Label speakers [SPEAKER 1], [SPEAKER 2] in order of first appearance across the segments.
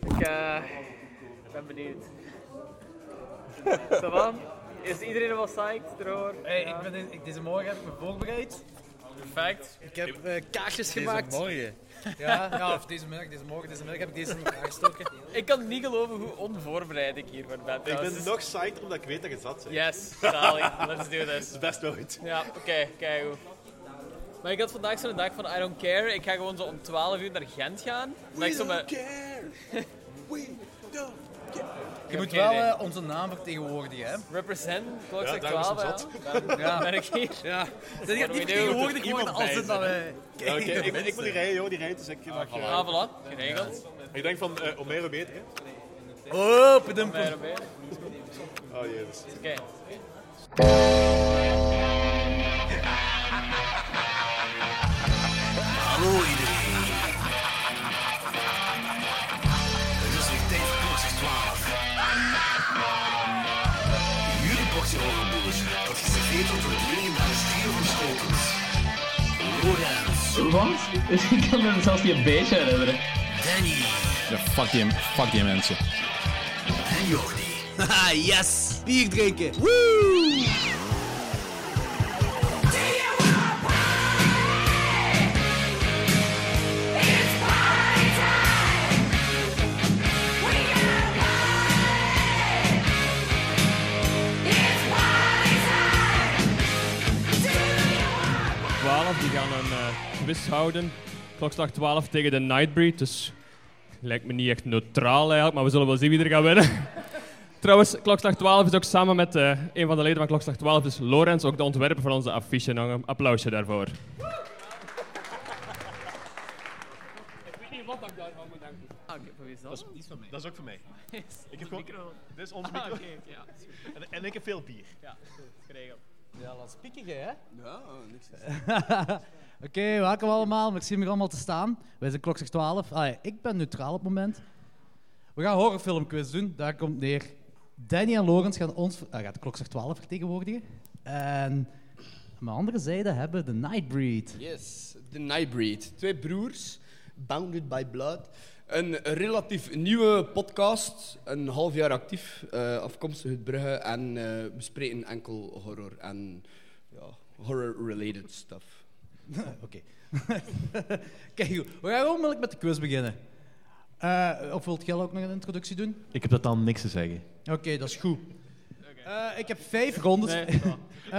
[SPEAKER 1] Ik eh, ben benieuwd. Zo van, is iedereen wel psyched erover?
[SPEAKER 2] Hey, ik ben in- ik- deze morgen heb ik me voorbereid.
[SPEAKER 1] Perfect.
[SPEAKER 2] Ik heb eh, kaartjes gemaakt.
[SPEAKER 3] morgen.
[SPEAKER 2] Ja, ja, of deze middag, deze morgen, deze middag heb ik deze in elkaar gestoken.
[SPEAKER 1] Ik kan niet geloven hoe onvoorbereid ik hiervoor ben.
[SPEAKER 3] Ik
[SPEAKER 1] trouwens.
[SPEAKER 3] ben nog psyched omdat ik weet dat je zat bent.
[SPEAKER 1] Yes, zalig. Let's do this.
[SPEAKER 3] Dat is best wel goed.
[SPEAKER 1] Ja, oké, kijk hoe. Maar ik had vandaag zo'n dag van I don't care. Ik ga gewoon zo om 12 uur naar Gent gaan. Dan ik zo met-
[SPEAKER 3] care. We don't care.
[SPEAKER 2] Je moet
[SPEAKER 1] geen
[SPEAKER 2] wel
[SPEAKER 1] idee.
[SPEAKER 2] eh, onze naam vertegenwoordigen, hè?
[SPEAKER 1] represent, klok
[SPEAKER 3] Ja,
[SPEAKER 1] zegt
[SPEAKER 3] daarom is
[SPEAKER 1] 12.
[SPEAKER 3] het
[SPEAKER 1] hè.
[SPEAKER 3] zot.
[SPEAKER 2] Ja.
[SPEAKER 1] Ben ik hier?
[SPEAKER 2] ja. Zijn
[SPEAKER 1] What
[SPEAKER 2] je
[SPEAKER 1] do we
[SPEAKER 2] niet
[SPEAKER 1] do?
[SPEAKER 2] vertegenwoordigd
[SPEAKER 3] Iemand
[SPEAKER 2] geworden als
[SPEAKER 3] bij
[SPEAKER 2] het dan...
[SPEAKER 3] Ja,
[SPEAKER 2] eh,
[SPEAKER 3] oké, ik, ik moet niet rijden, joh, die rijdt, dus ik mag... eh,
[SPEAKER 1] Ah, voilà. Geregeld.
[SPEAKER 3] ik denk van, eh, hoe meer, hoe beter. hè.
[SPEAKER 2] Oh, pedum,
[SPEAKER 1] Bij
[SPEAKER 2] pedum.
[SPEAKER 1] erbij.
[SPEAKER 3] Oh, jezus.
[SPEAKER 1] Oké.
[SPEAKER 4] Hallo iedereen. Het is weer tijd voor klokslag 12. Jullie boxje overboers, dat geserveerd wordt door het legendarische trio van Schotens. Lorenz,
[SPEAKER 5] Want? Ik kan me zelfs niet een beetje herinneren.
[SPEAKER 4] Danny
[SPEAKER 6] Ja, fuck die, fuck die mensen.
[SPEAKER 4] en Jordi.
[SPEAKER 7] Haha, yes! Bier drinken! Woo!
[SPEAKER 8] die gaan een eh, twist houden. Klokslag 12 tegen de Nightbreed, dus lijkt me niet echt neutraal eigenlijk, maar we zullen wel zien wie er gaat winnen. Trouwens, Klokslag 12 is ook samen met eh, een van de leden van Klokslag 12, dus Lorenz, ook de ontwerper van onze affiche. Nog een applausje daarvoor. Ik weet niet wat ik daarvan moet denken.
[SPEAKER 1] Ah, oké, voor wie is dat?
[SPEAKER 3] Dat is ook voor mij. Ik heb gewoon...
[SPEAKER 1] Micro.
[SPEAKER 3] Dit is ons
[SPEAKER 1] Ah, oké,
[SPEAKER 3] micro.
[SPEAKER 1] ja. is goed.
[SPEAKER 3] En, en ik heb veel bier.
[SPEAKER 1] Ja, is geregeld.
[SPEAKER 2] Ja, laat spieken jij, hè?
[SPEAKER 7] Ja, niks.
[SPEAKER 2] Oké, welkom allemaal. Merci om hier allemaal te staan. Wij zijn klok 12. Allee, ik ben neutraal op het moment. We gaan horrorfilmquiz doen. Daar komt het neer. Danny en Lorenz gaan ons... ver- ah, gaat de klok 12 vertegenwoordigen. En aan mijn andere zijde hebben we de Nightbreed.
[SPEAKER 7] Yes, The Nightbreed. Twee broers, bounded by blood. Een relatief nieuwe podcast, een half jaar actief, eh, afkomstig uit Brugge. En eh bespreken enkel horror en ja, horror-related stuff.
[SPEAKER 2] Oké. Kijk, goed. we gaan onmiddellijk met de quiz beginnen. Eh, of wilt jij ook nog een introductie doen?
[SPEAKER 9] Ik heb dat dan niks te zeggen.
[SPEAKER 2] Oké, dat is goed. Eh, ik heb vijf rondes.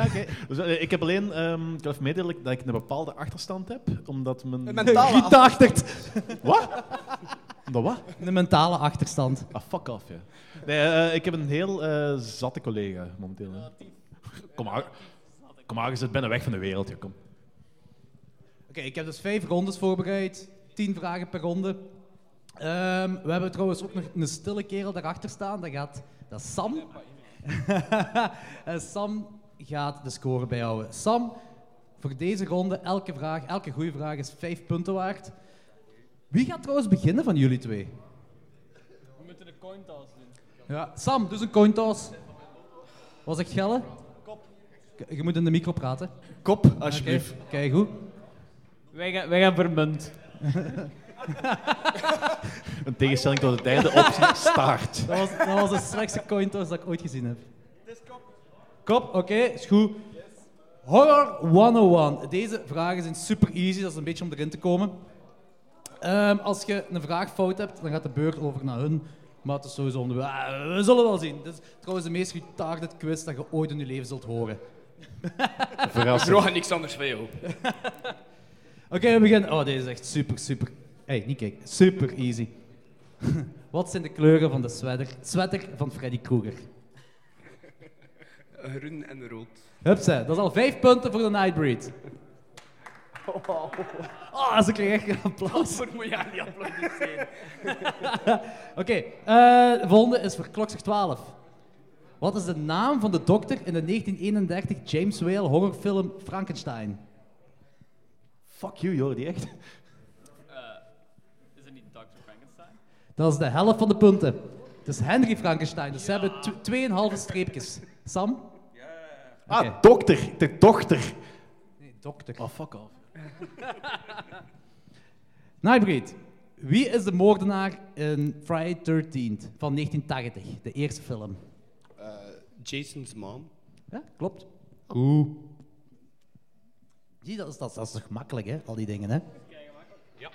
[SPEAKER 2] Oké.
[SPEAKER 9] Dus, eh, ik heb alleen, ehm ik wil even meedelen dat ik een bepaalde achterstand heb, omdat mijn...
[SPEAKER 7] Een mentale
[SPEAKER 2] Giet achter-
[SPEAKER 9] Wat? Omdat wat?
[SPEAKER 2] De mentale achterstand.
[SPEAKER 9] Ah, fuck off, ja. Nee, eh, ik heb een heel eh, zatte collega momenteel. hè. Kom maar. Kom maar, je ben weg van de wereld, joh. Kom.
[SPEAKER 2] Oké, ik heb dus vijf rondes voorbereid. Tien vragen per ronde. Ehm, we hebben trouwens ook nog een stille kerel daarachter staan. Dat, gaat, dat is Sam. en Sam gaat de score bijhouden. Sam, voor deze ronde, elke vraag, elke goede vraag is vijf punten waard. Wie gaat trouwens beginnen van jullie twee?
[SPEAKER 1] We moeten de coin toss doen.
[SPEAKER 2] Ja, Sam, dus een coin toss. Was ik Gelle? Kop. Je moet in de micro praten.
[SPEAKER 7] kop, alsjeblieft.
[SPEAKER 2] Kijk goed.
[SPEAKER 1] Wij gaan, wij gaan voor munt.
[SPEAKER 9] Een tegenstelling tot de derde optie, staart.
[SPEAKER 2] Dat was, dat was de slechtste coin toss dat ik ooit gezien heb. kop. oké, is goed. Horror 101. Deze vragen zijn super easy, dat is een beetje om erin te komen. Ehm, als je een vraag fout hebt, dan gaat de beurt over naar hun. Maar het is sowieso onder... Ah, we zullen wel zien. Dit is trouwens de meest retarded quiz dat je ooit in je leven zult horen.
[SPEAKER 9] Verrassend.
[SPEAKER 7] Bro, niks anders van jou.
[SPEAKER 2] Oké, we beginnen. Oh, deze is echt super, super... hey, niet kijken. Super easy. Wat zijn de kleuren van de sweater, sweater van Freddy Krueger?
[SPEAKER 7] Groen en rood.
[SPEAKER 2] Hupsa, dat is al vijf punten voor de Nightbreed. Oh, ze kregen echt een applaus.
[SPEAKER 1] Voor moet je niet applaudisseren.
[SPEAKER 2] Oké, eh, de volgende is voor klokslag 12. Wat is de naam van de dokter in de 1931 James Whale horrorfilm Frankenstein?
[SPEAKER 9] Fuck you, Jordi, echt.
[SPEAKER 1] Is het niet Dr. Frankenstein?
[SPEAKER 2] Dat is de helft van de punten. Het is Henry Frankenstein, dus ze hebben tw- 2,5 streepjes. Sam?
[SPEAKER 9] Ah, dokter. De dochter.
[SPEAKER 2] Oh, Nee, dokter.
[SPEAKER 9] Ah, fuck off.
[SPEAKER 2] Nightbreed, Nou, Wie is de moordenaar in Friday 13th van 1980, de eerste film?
[SPEAKER 7] Jason's mom.
[SPEAKER 2] Ja, klopt. Zie, dat is, dat, is- dat is toch makkelijk, hè? Al die dingen, hè? Ja.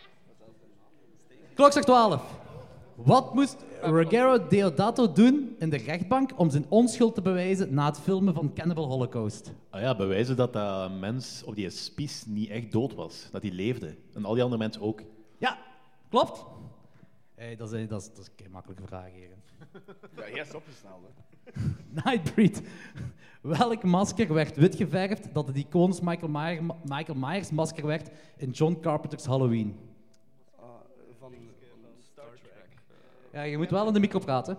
[SPEAKER 2] Klok zegt 12. Wat moest Ruggero Deodato doen in de rechtbank om zijn onschuld te bewijzen na het filmen van Cannibal Holocaust?
[SPEAKER 9] Ah ja, bewijzen dat dat mens op die spies niet echt dood was. Dat hij leefde. En al die andere mensen ook.
[SPEAKER 2] Ja, klopt. Hey, dat, is, dat, is, dat is een kei makkelijke vraag hier.
[SPEAKER 7] Ja, jij is opgesneld, hè.
[SPEAKER 2] Nightbreed. Welk masker werd wit geverfd dat het iconisch Michael, Myer- Michael Myers masker werd in John Carpenter's Halloween?
[SPEAKER 7] Ah, Van Star Trek. eh,
[SPEAKER 2] Ja, je moet wel in de micro praten.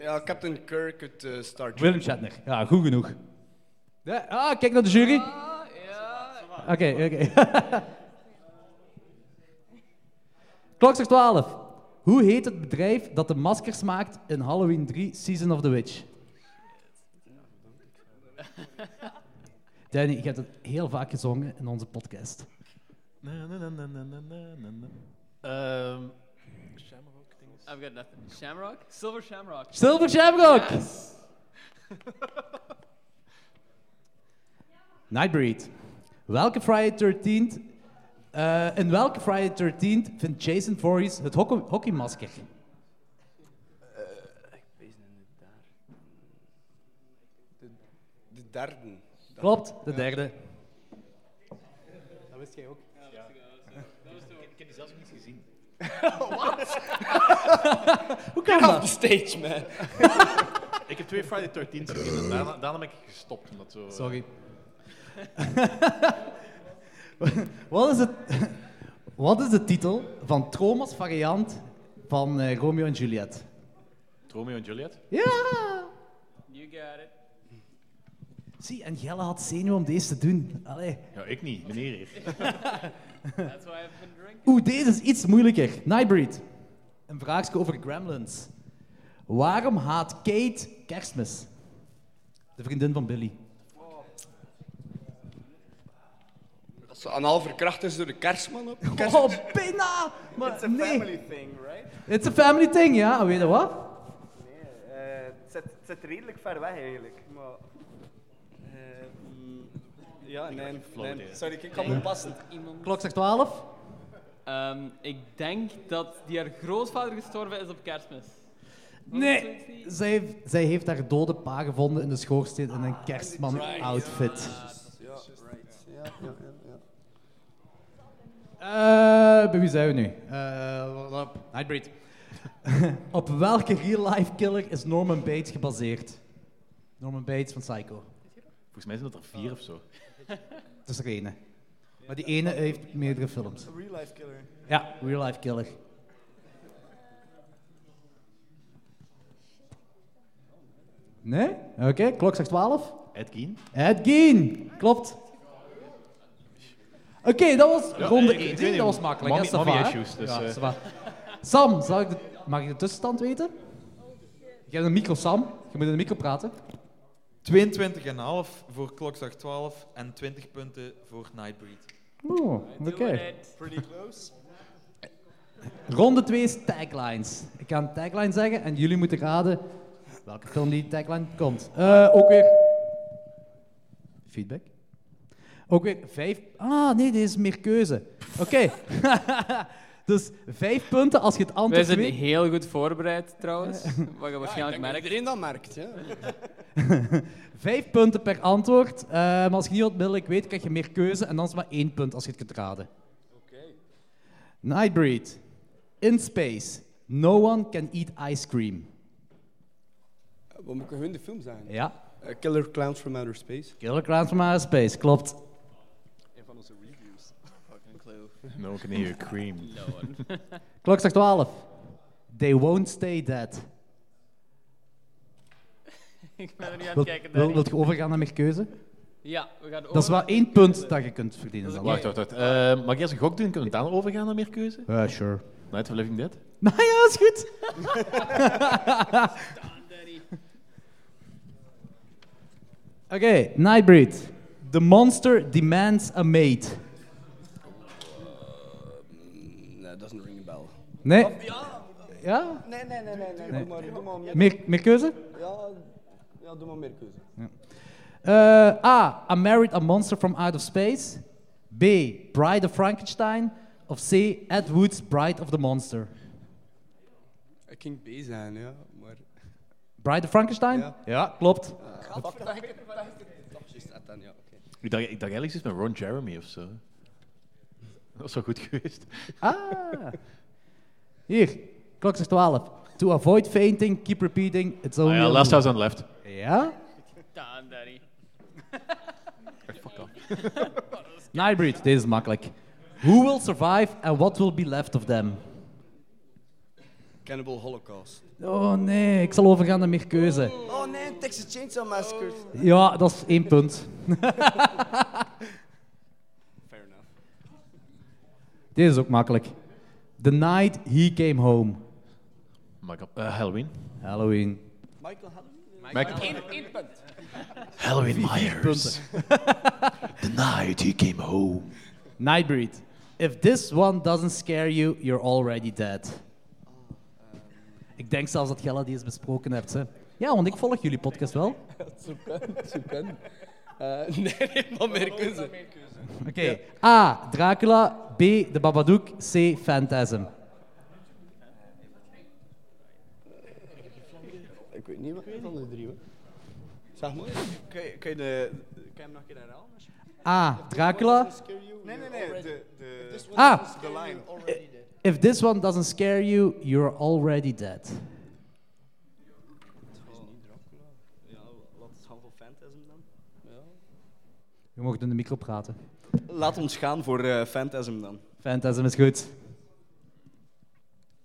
[SPEAKER 7] Ja, Captain Kirk uit eh, Star Trek.
[SPEAKER 2] Willem Shatner. Ja, goed genoeg. Ja, ah, kijk naar de jury.
[SPEAKER 7] Ah,
[SPEAKER 2] Oké, oké. Klok zegt 12. Hoe heet het bedrijf dat de maskers maakt in Halloween 3 Season of the Witch? Danny, je hebt het heel vaak gezongen in onze podcast.
[SPEAKER 9] Na, na, na, na, na, na, na, na. Ehm,
[SPEAKER 10] I've got nothing. Shamrock? Silver Shamrock.
[SPEAKER 2] Silver Shamrock! Nightbreed. Welke Friday 13th? eh, in welke Friday 13th vindt Jason Voorhees het hok- hockeymasker?
[SPEAKER 7] De derde.
[SPEAKER 2] Klopt, de derde.
[SPEAKER 7] Dat wist jij ook.
[SPEAKER 2] Hoe kan
[SPEAKER 7] Off the
[SPEAKER 2] dat?
[SPEAKER 7] stage, man.
[SPEAKER 9] ik heb twee Friday 13 gezien en daarna, daarna ben ik gestopt. Omdat zo,
[SPEAKER 2] Sorry. wat, is het, wat is de titel van Troma's variant van eh, Romeo en Juliet?
[SPEAKER 9] Romeo en Juliet.
[SPEAKER 2] Ja!
[SPEAKER 10] You got it.
[SPEAKER 2] Zie, en Jelle had zenuw om deze te doen. Allee.
[SPEAKER 9] Ja, ik niet. Meneer hier.
[SPEAKER 10] That's why I've been drinking.
[SPEAKER 2] Oeh, deze is iets moeilijker. Nightbreed. Een vraagje over Gremlins. Waarom haat Kate kerstmis? De vriendin van Billy.
[SPEAKER 7] Dat ze anaal verkracht is door de kerstman op. Kerst...
[SPEAKER 2] Oh, bijna! Maar It's a family thing, right? It's a family thing, ja. Oh, Weet je wat? eh,
[SPEAKER 11] Het zit redelijk ver weg eigenlijk, maar...
[SPEAKER 2] eh, mm,
[SPEAKER 7] Ja, nee, nee. Sorry, ik kan me passen.
[SPEAKER 10] Iemand.
[SPEAKER 2] Klok zegt 12.
[SPEAKER 10] Ehm, ik denk dat die haar grootvader gestorven is op kerstmis.
[SPEAKER 2] Nee. Zij heeft, zij heeft haar dode pa gevonden in de schoorsteen in een kerstman-outfit.
[SPEAKER 7] Ah, Ja, right. Ja, ja, ja. ja.
[SPEAKER 2] Eh, bij wie zijn we nu? Eh, wat op? Nightbreed. op welke real-life killer is Norman Bates gebaseerd? Norman Bates van Psycho.
[SPEAKER 9] Volgens mij zijn dat er vier of zo.
[SPEAKER 2] Dat is er ene. Maar die ene heeft meerdere films.
[SPEAKER 7] Real life killer.
[SPEAKER 2] Ja, real-life killer. Nee? Oké, klok zegt 12.
[SPEAKER 9] Ed Gein.
[SPEAKER 2] Ed Gein, klopt. Oké, dat was ronde
[SPEAKER 9] ik- ik
[SPEAKER 2] 1.
[SPEAKER 9] weet niet,
[SPEAKER 2] Dat was makkelijk.
[SPEAKER 9] mommy-
[SPEAKER 2] hè, ça va,
[SPEAKER 9] mommy
[SPEAKER 2] hè?
[SPEAKER 9] issues, dus,
[SPEAKER 2] Ja,
[SPEAKER 9] eh.
[SPEAKER 2] ça va. Sam, zal ik de, mag ik de tussenstand weten? Je hebt een micro, Sam. Je moet in de micro praten.
[SPEAKER 11] 22,5 voor klokslag 12 en 20 punten voor Nightbreed.
[SPEAKER 2] Oeh, Oh, oké.
[SPEAKER 11] Pretty close.
[SPEAKER 2] Ronde 2 is taglines. Ik ga een tagline zeggen en jullie moeten raden welke film die tagline komt. Eh, ook weer. Feedback. Ook weer vijf. Ah, nee, dit is meer keuze. Oké. dus vijf punten als je het
[SPEAKER 10] Wij
[SPEAKER 2] antwoord
[SPEAKER 10] zijn
[SPEAKER 2] weet.
[SPEAKER 10] heel goed voorbereid trouwens, wat je waarschijnlijk merkt.
[SPEAKER 7] Iedereen Oh. dat merkt, ja.
[SPEAKER 2] Vijf punten per antwoord. Eh, maar als je niet onmiddellijk weet, krijg je meer keuze. En dan is het maar één punt als je het kunt raden. Nightbreed. In space. No one can eat ice cream.
[SPEAKER 7] Wat moet ik hun de film zeggen?
[SPEAKER 2] Ja.
[SPEAKER 7] Eh, Killer Clowns from Outer Space.
[SPEAKER 2] Killer Clowns from Outer Space, klopt.
[SPEAKER 9] No, ik neem cream.
[SPEAKER 2] Klok zegt 12. They won't stay dead.
[SPEAKER 10] Ik ben er nu aan
[SPEAKER 2] Wil,
[SPEAKER 10] het kijken.
[SPEAKER 2] wil,
[SPEAKER 10] Danny.
[SPEAKER 2] wilt je overgaan naar meer keuze?
[SPEAKER 10] Ja, we gaan over.
[SPEAKER 2] Dat is wel één punt dat je kunt verdienen. Dan.
[SPEAKER 9] Wacht, wacht, wacht. Eh, mag ik eerst een gok doen? Kunnen we daarna overgaan naar meer keuze?
[SPEAKER 2] Ja, sure.
[SPEAKER 9] Night of Living Dead?
[SPEAKER 2] Nou ja, is goed. Oké, Nightbreed. The monster demands a mate.
[SPEAKER 7] Nee, dat is een
[SPEAKER 12] bel.
[SPEAKER 2] Nee.
[SPEAKER 12] Of- ja.
[SPEAKER 2] Ja?
[SPEAKER 12] Nee, nee, nee, nee. nee.
[SPEAKER 2] Nee.
[SPEAKER 12] Doe maar, doe maar meer...
[SPEAKER 2] Meer- meer keuze?
[SPEAKER 12] Ja, ja, doe maar meer keuze.
[SPEAKER 2] Eh, A. I married a monster from out of space. B. Bride of Frankenstein. Of C. Ed Wood's Bride of the Monster.
[SPEAKER 7] Ik ging B zijn, ja. Maar...
[SPEAKER 2] Bride of Frankenstein? Ja, klopt.
[SPEAKER 7] ah, dan, ja. oké.
[SPEAKER 9] Ik dacht, ik dacht eigenlijk iets met Ron Jeremy of zo. Dat was wel goed geweest.
[SPEAKER 2] Ah. Hier, klok zegt 12. To avoid fainting, keep repeating. It's only
[SPEAKER 9] Ah ja,
[SPEAKER 2] a
[SPEAKER 9] last
[SPEAKER 2] little.
[SPEAKER 9] house on left. Oh
[SPEAKER 2] Ja?
[SPEAKER 10] Daan, Danny. Fuck
[SPEAKER 2] Nightbreed, deze is makkelijk. Who will survive and what will be left of them?
[SPEAKER 7] Cannibal Holocaust.
[SPEAKER 2] Oh nee, ik zal overgaan naar meer keuze.
[SPEAKER 12] Oh nee, Texas Chainsaw Massacre.
[SPEAKER 2] Ja, dat is één punt.
[SPEAKER 7] Fair enough.
[SPEAKER 2] Dit is ook makkelijk. The night he came home.
[SPEAKER 9] Michael, eh, Halloween.
[SPEAKER 2] Halloween.
[SPEAKER 12] Michael Halloween.
[SPEAKER 9] Michael-
[SPEAKER 12] Eén- één punt.
[SPEAKER 9] Halloween Myers. The night he came home.
[SPEAKER 2] Nightbreed. If this one doesn't scare you, you're already dead. Ik denk zelfs dat Gella die eens besproken hebt. Hè. Ja, want ik volg jullie podcast wel.
[SPEAKER 7] Zo kan, zo kan. Eh, nee, nee, maar meer keuze.
[SPEAKER 2] Oké. A. Dracula. B. De Babadook. C. Phantasm.
[SPEAKER 12] Ik weet niet wat van de drie hoor. Zeg maar.
[SPEAKER 13] Kan je, kan je de...
[SPEAKER 12] Kan je hem nog een keer herhalen?
[SPEAKER 2] A. Dracula.
[SPEAKER 13] Nee, nee, nee. De, de,
[SPEAKER 2] Ah.
[SPEAKER 13] de lijn.
[SPEAKER 2] If this one doesn't scare you, you're already dead.
[SPEAKER 12] Het is niet Dracula. Ja, wat is Hand of Phantasm dan? Ja.
[SPEAKER 2] Je mag in de micro praten.
[SPEAKER 12] Laat ons gaan voor eh, Phantasm dan.
[SPEAKER 2] Phantasm is goed.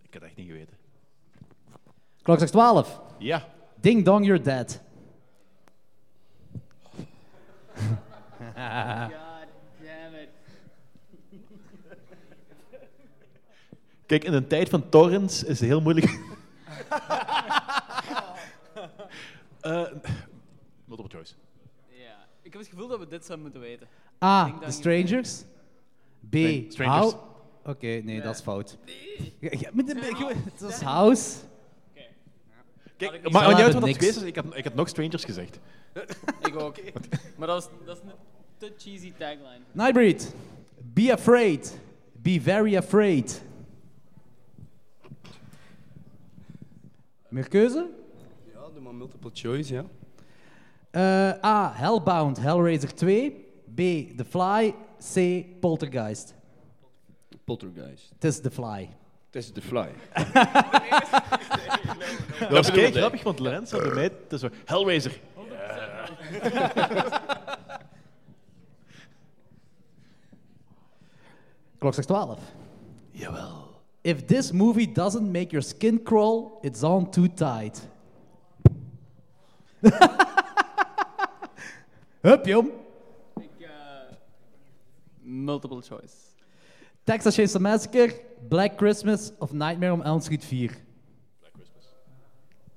[SPEAKER 9] Ik had echt niet geweten.
[SPEAKER 2] Klok zegt 12.
[SPEAKER 9] Ja.
[SPEAKER 2] Ding dong, you're dead.
[SPEAKER 9] Kijk, in een tijd van torrents is het heel moeilijk. Eh multiple choice.
[SPEAKER 10] Ja. Ik heb het gevoel dat we dit zouden moeten weten. Ik
[SPEAKER 2] A.
[SPEAKER 10] denk
[SPEAKER 2] The
[SPEAKER 10] dat-
[SPEAKER 2] Strangers. B.
[SPEAKER 9] Stra- Strangers.
[SPEAKER 2] How- Oké, nee, dat is fout. Ja, ja, maar de- Het is House.
[SPEAKER 10] Had
[SPEAKER 9] Kijk,
[SPEAKER 10] ik
[SPEAKER 9] maar
[SPEAKER 10] niet
[SPEAKER 9] aan jou
[SPEAKER 10] gedaan.
[SPEAKER 9] dat het
[SPEAKER 10] Niks.
[SPEAKER 9] geweest is, ik had, ik had nog Strangers gezegd.
[SPEAKER 10] Ik ook. Maar dat is, dat is een te cheesy tagline.
[SPEAKER 2] Nightbreed. Be afraid. Be very afraid. Meer keuze?
[SPEAKER 7] Ja, doe maar multiple choice, ja.
[SPEAKER 2] Eh, A. Hellbound, Hellraiser 2. B. The Fly. C. Poltergeist.
[SPEAKER 7] Poltergeist.
[SPEAKER 2] Het is The Fly.
[SPEAKER 7] Het is The Fly.
[SPEAKER 9] Dat was kei grappig, want Lorenz had bij mij... Het is wel Hellraiser.
[SPEAKER 2] Klok zegt 12.
[SPEAKER 9] Jawel.
[SPEAKER 2] If this movie doesn't make your skin crawl, it's on too tight. Hup, jong.
[SPEAKER 10] Ik, eh, multiple choice.
[SPEAKER 2] Texas Chainsaw Massacre, Black Christmas of Nightmare on Elm Street 4.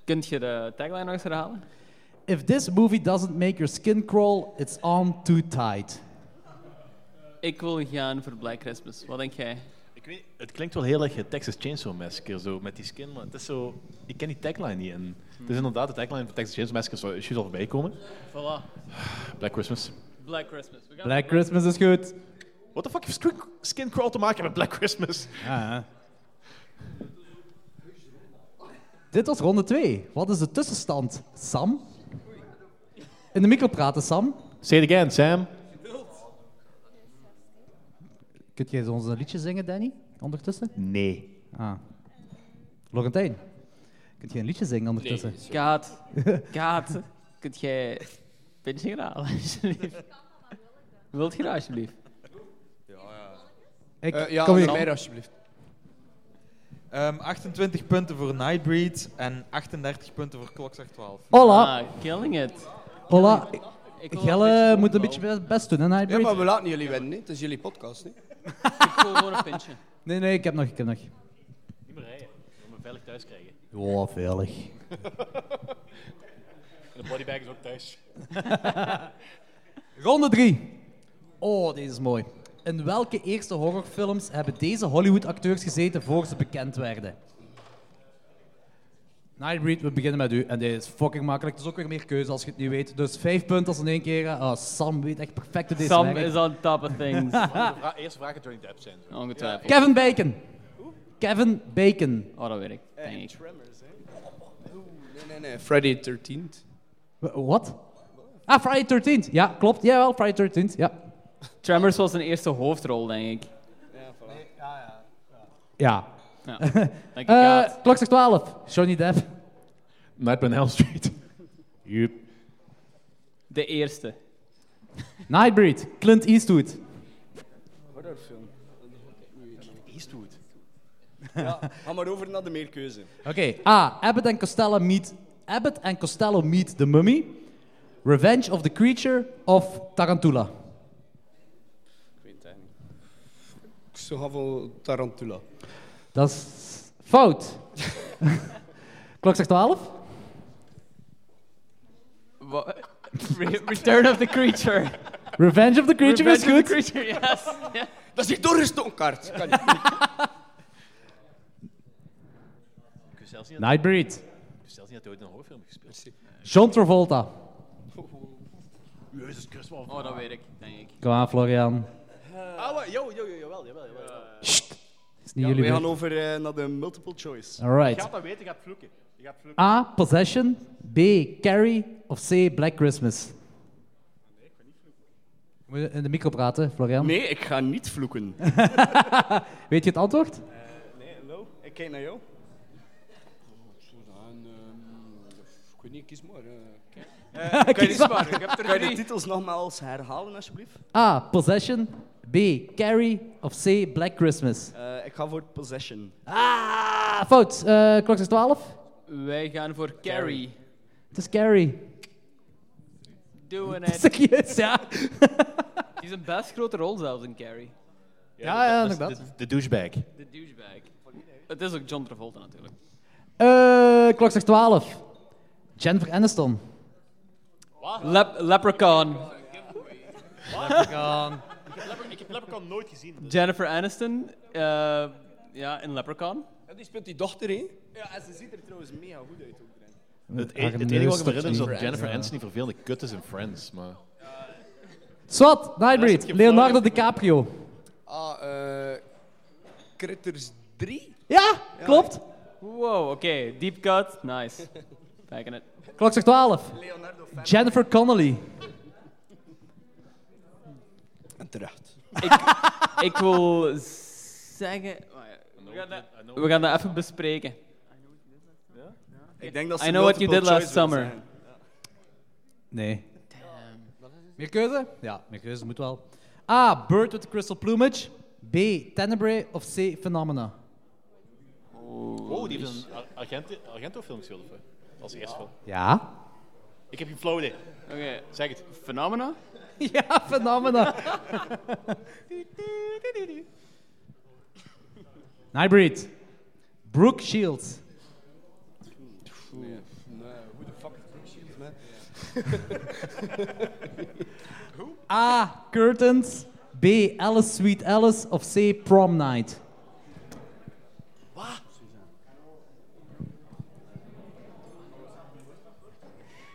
[SPEAKER 10] Kunt je de tagline nog eens herhalen?
[SPEAKER 2] If this movie doesn't make your skin crawl, it's on too tight.
[SPEAKER 10] Ik wil gaan voor Black Christmas. Wat denk jij?
[SPEAKER 9] Ik weet, het klinkt wel heel erg eh, Texas Chainsaw Massacre, zo, met die skin, maar het is zo... Ik ken die tagline niet. En
[SPEAKER 2] Hmm.
[SPEAKER 9] het is inderdaad de tagline van Texas Chainsaw Massacre, zou je al voorbij komen.
[SPEAKER 10] Voilà.
[SPEAKER 9] Black Christmas.
[SPEAKER 10] Black Christmas. We gaan
[SPEAKER 2] Black Christmas is goed.
[SPEAKER 9] What the fuck heeft skin, skin crawl te maken met Black Christmas?
[SPEAKER 2] Dit was ronde 2. Wat is de tussenstand, Sam? In de micro praten, Sam.
[SPEAKER 9] Say it again, Sam.
[SPEAKER 2] Kunt jij ons een liedje zingen, Danny? Ondertussen?
[SPEAKER 9] Nee.
[SPEAKER 2] Ah. Florentijn, kunt jij een liedje zingen ondertussen?
[SPEAKER 10] Kaat, Kaat, kunt jij pintje gaan halen, alsjeblieft? Wilt je dat, alsjeblieft?
[SPEAKER 2] Ik,
[SPEAKER 11] Eh,
[SPEAKER 7] ja,
[SPEAKER 11] kom hier.
[SPEAKER 7] aan mij alsjeblieft.
[SPEAKER 11] Ehm, 28 punten voor Nightbreed en 38 punten voor Klokzacht 12.
[SPEAKER 2] Hola.
[SPEAKER 10] Ah, killing it.
[SPEAKER 2] Hola,
[SPEAKER 10] Ik wil
[SPEAKER 2] Gelle moet een
[SPEAKER 10] opbouwen.
[SPEAKER 2] beetje het best doen, hè,
[SPEAKER 7] Ja,
[SPEAKER 2] Nightbreed?
[SPEAKER 7] maar we laten jullie winnen, hè. Het is jullie podcast, hè.
[SPEAKER 10] Ik wil gewoon een pintje.
[SPEAKER 2] Nee, nee, ik heb nog, ik heb nog.
[SPEAKER 9] Niet meer rijden. Ik wil me veilig thuis krijgen.
[SPEAKER 2] Ja, veilig.
[SPEAKER 13] De bodybag is ook thuis.
[SPEAKER 2] Ronde 3. Oh, deze is mooi. In welke eerste horrorfilms hebben deze Hollywood-acteurs gezeten voor ze bekend werden? Nightbreed, we beginnen met u. En dit is fucking makkelijk. Het is ook weer meer keuze als je het niet weet. Dus vijf punten als in één keer. Ah, Sam weet echt perfect hoe deze
[SPEAKER 1] Sam
[SPEAKER 2] werkt.
[SPEAKER 1] is on top of things.
[SPEAKER 9] Ah, eerste vraag kan Johnny Depp zijn.
[SPEAKER 1] Ongetwijfeld.
[SPEAKER 2] Kevin Bacon. Kevin Bacon.
[SPEAKER 1] Oh, dat weet ik. Denk ik.
[SPEAKER 7] Nee,
[SPEAKER 12] Eh,
[SPEAKER 7] nee, Friday 13th.
[SPEAKER 2] Wa- Wat? Ah, Friday 13th. Ja, klopt. Jawel, Friday 13th. Ja.
[SPEAKER 1] Tremors was zijn eerste hoofdrol, denk ik.
[SPEAKER 2] Ja.
[SPEAKER 1] Ja. Dank je,
[SPEAKER 2] Eh,
[SPEAKER 1] Kaat.
[SPEAKER 2] klok zegt 12. Johnny Depp.
[SPEAKER 9] Nightmare on Elm Street. Yep.
[SPEAKER 1] De eerste.
[SPEAKER 2] Nightbreed. Clint Eastwood.
[SPEAKER 12] Horrorfilm.
[SPEAKER 9] Eastwood.
[SPEAKER 12] Ja, ga maar over naar de meerkeuze.
[SPEAKER 2] Oké. A. Abbott en Costello meet... Abbott en Costello meet The Mummy. Revenge of the Creature of Tarantula.
[SPEAKER 12] Ik weet het niet.
[SPEAKER 7] Ik zou gaan voor Tarantula.
[SPEAKER 2] Dat is fout. klok zegt 12.
[SPEAKER 1] Wa- Re- Return of the Creature.
[SPEAKER 2] Revenge of the
[SPEAKER 1] Revenge
[SPEAKER 2] Creature is
[SPEAKER 1] of the
[SPEAKER 2] goed.
[SPEAKER 1] Creature, yes. Ja.
[SPEAKER 7] Dat is hier doorgestoken kaart. Kan niet.
[SPEAKER 9] Ik wist zelfs niet dat-
[SPEAKER 2] Nightbreed.
[SPEAKER 9] Ik wist zelfs niet dat hij ooit in een horrorfilm gespeeld heeft.
[SPEAKER 2] John Travolta.
[SPEAKER 9] Jezus Christus, wat een
[SPEAKER 1] Oh, dat
[SPEAKER 9] vraag.
[SPEAKER 1] weet ik, denk ik.
[SPEAKER 2] Kom aan, Florian.
[SPEAKER 12] Ah, wa- jo, jo, jo, jawel, jawel, jawel.
[SPEAKER 2] Is niet jullie
[SPEAKER 12] we gaan
[SPEAKER 2] beurt.
[SPEAKER 12] over eh, naar de multiple choice.
[SPEAKER 2] Alright. Je gaat
[SPEAKER 12] dat weten, je gaat vloeken. Je gaat vloeken.
[SPEAKER 2] A. Possession. B. Carrie. Of C. Black Christmas. Moet je in de micro praten, Florian?
[SPEAKER 12] Nee, ik ga niet vloeken.
[SPEAKER 2] Weet je het antwoord?
[SPEAKER 12] nee, no. Ik kijk naar jou.
[SPEAKER 7] Ik weet niet, kies maar. eh.
[SPEAKER 12] kan je
[SPEAKER 2] Kies
[SPEAKER 12] die
[SPEAKER 2] maar.
[SPEAKER 12] sparen? Ik heb er
[SPEAKER 2] Kan je
[SPEAKER 12] drie.
[SPEAKER 2] de
[SPEAKER 12] titels nogmaals herhalen, alsjeblieft?
[SPEAKER 2] A. Possession. B. Carrie. Of C. Black Christmas.
[SPEAKER 12] Eh, ik ga voor Possession.
[SPEAKER 2] Ah, fout. Eh, klok is 12.
[SPEAKER 1] Wij gaan voor Carrie.
[SPEAKER 2] Het is Carrie.
[SPEAKER 1] Doing it.
[SPEAKER 2] Serieus, ja.
[SPEAKER 1] Die is een best grote rol zelfs in Carrie.
[SPEAKER 2] Ja, ja, dat is inderdaad.
[SPEAKER 9] De douchebag. e-
[SPEAKER 1] De douchebag. Het is ook John Travolta natuurlijk.
[SPEAKER 2] Eh, klok zegt 12. Jennifer Aniston.
[SPEAKER 1] Lep- Leprechaun.
[SPEAKER 2] Leprechaun.
[SPEAKER 1] Ik heb, Leprechaun, nooit gezien.
[SPEAKER 7] dus-
[SPEAKER 1] Jennifer Aniston, eh, ja, in Leprechaun.
[SPEAKER 7] die speelt die dochter, hè?
[SPEAKER 12] Ja, en ze ziet er trouwens mega goed uit ook. erin.
[SPEAKER 9] Het, e-
[SPEAKER 2] Haar
[SPEAKER 9] het enige wat ik me
[SPEAKER 2] neus
[SPEAKER 9] herinner is dat
[SPEAKER 2] toch
[SPEAKER 9] Jennifer
[SPEAKER 2] niet.
[SPEAKER 9] Aniston die vervelende kut is in Friends, maar...
[SPEAKER 2] Swat, Nightbreed. Leonardo DiCaprio.
[SPEAKER 7] Ah, eh. Critters 3?
[SPEAKER 2] Ja, klopt.
[SPEAKER 1] Wow, oké. Deep cut. Nice. Packing it.
[SPEAKER 2] Klok zegt 12. Jennifer Connelly.
[SPEAKER 7] En terecht.
[SPEAKER 1] Ik, ik wil zeggen... oh ja, We gaan dat, we gaan dat even bespreken.
[SPEAKER 12] Ik denk dat ze
[SPEAKER 1] I know what you
[SPEAKER 12] multiple
[SPEAKER 1] did last
[SPEAKER 12] choice wil
[SPEAKER 1] summer.
[SPEAKER 12] zijn.
[SPEAKER 2] Nee. Meer keuze? Ja, meer keuze moet wel. A. Bird with Crystal Plumage. B. Tenebrae of C. Phenomena.
[SPEAKER 9] Oh, die heeft een Ar- Argento- Argento-film gespeeld, of wat? Als eerste film.
[SPEAKER 2] Ja?
[SPEAKER 9] Ik heb geen flauw idee.
[SPEAKER 1] Oké. Zeg het. Phenomena?
[SPEAKER 2] Ja, Phenomena. Nightbreed. Brooke Shields.
[SPEAKER 7] Nee, nee, hoe de fuck is Brooke Shields, man?
[SPEAKER 2] A. Curtains. B. Alice Sweet Alice of C. Prom Night.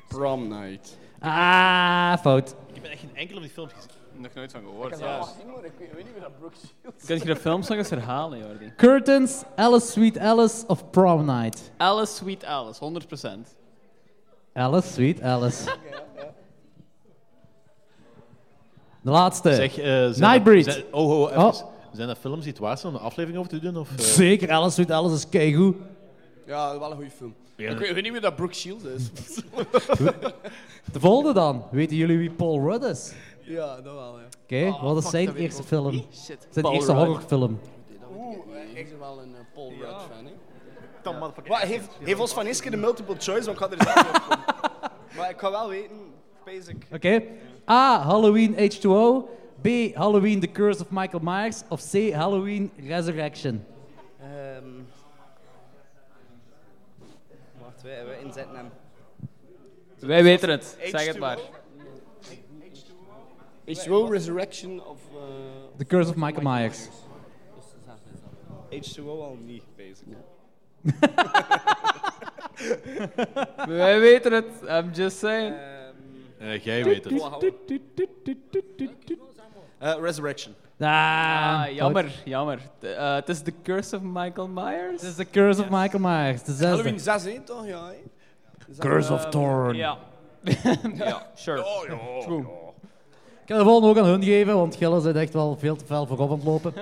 [SPEAKER 7] Prom Night.
[SPEAKER 2] Ah, fout.
[SPEAKER 9] Ik heb echt geen enkele van die films gezien.
[SPEAKER 1] Nog nooit van gehoord.
[SPEAKER 12] Ik weet niet meer dat Brooks
[SPEAKER 1] Kun je de films nog eens herhalen, Jordi?
[SPEAKER 2] Curtains, Alice Sweet Alice of Prom Night.
[SPEAKER 1] Alice Sweet Alice, 100%.
[SPEAKER 2] Alice Sweet Alice. De laatste.
[SPEAKER 9] Zeg, eh, zijn dat-
[SPEAKER 2] Nightbreed.
[SPEAKER 9] zijn- oh, oh, even.
[SPEAKER 2] Oh.
[SPEAKER 9] Zijn dat films die het waard zijn om een aflevering over te doen? Of, eh?
[SPEAKER 2] Zeker, Alice Sweet Alice is keigoed.
[SPEAKER 7] Ja, wel een goede film.
[SPEAKER 9] Ja.
[SPEAKER 7] Ik weet, ik weet niet meer dat Brooke Shields is.
[SPEAKER 2] De volgende dan. Weten jullie wie Paul Rudd is?
[SPEAKER 7] ja, dat wel, ja.
[SPEAKER 2] Oké, wat is zijn eerste film?
[SPEAKER 7] Shit.
[SPEAKER 2] Zijn
[SPEAKER 7] Paul
[SPEAKER 2] eerste
[SPEAKER 7] Rudd.
[SPEAKER 2] horrorfilm.
[SPEAKER 7] Oeh, eh, ik ben wel een eh, Paul Rudd fan, hè.
[SPEAKER 12] Wat, heeft, heeft ons van eens keer de multiple choice, want ik ga er zelf op komen. Maar ik ga wel weten, basic.
[SPEAKER 2] Oké. A. Halloween H2O. B. Halloween The Curse of Michael Myers. Of C. Halloween Resurrection.
[SPEAKER 12] Ehm. wacht, we, we inzetten hem.
[SPEAKER 1] Wij weten het. Zeg het
[SPEAKER 12] H2O.
[SPEAKER 1] maar.
[SPEAKER 7] H2O Resurrection of... eh,
[SPEAKER 2] The Curse of Michael Myers.
[SPEAKER 12] H2O al niet, basically.
[SPEAKER 1] Wij weten het, I'm just saying.
[SPEAKER 9] Eh, jij weet het.
[SPEAKER 12] Eh, Resurrection.
[SPEAKER 1] Ah, jammer, jammer. De- eh, Het is The Curse of Michael Myers.
[SPEAKER 2] Het is The Curse of Michael Myers, de zesde.
[SPEAKER 12] Halloween 6, hè, toch? Ja, hè? Is dat-
[SPEAKER 2] Curse of Thorn.
[SPEAKER 1] Ja. ja, sure. True.
[SPEAKER 2] Ik kan de volgende ook aan hun geven, want Gillen zit echt wel veel te fel voorop aan het lopen.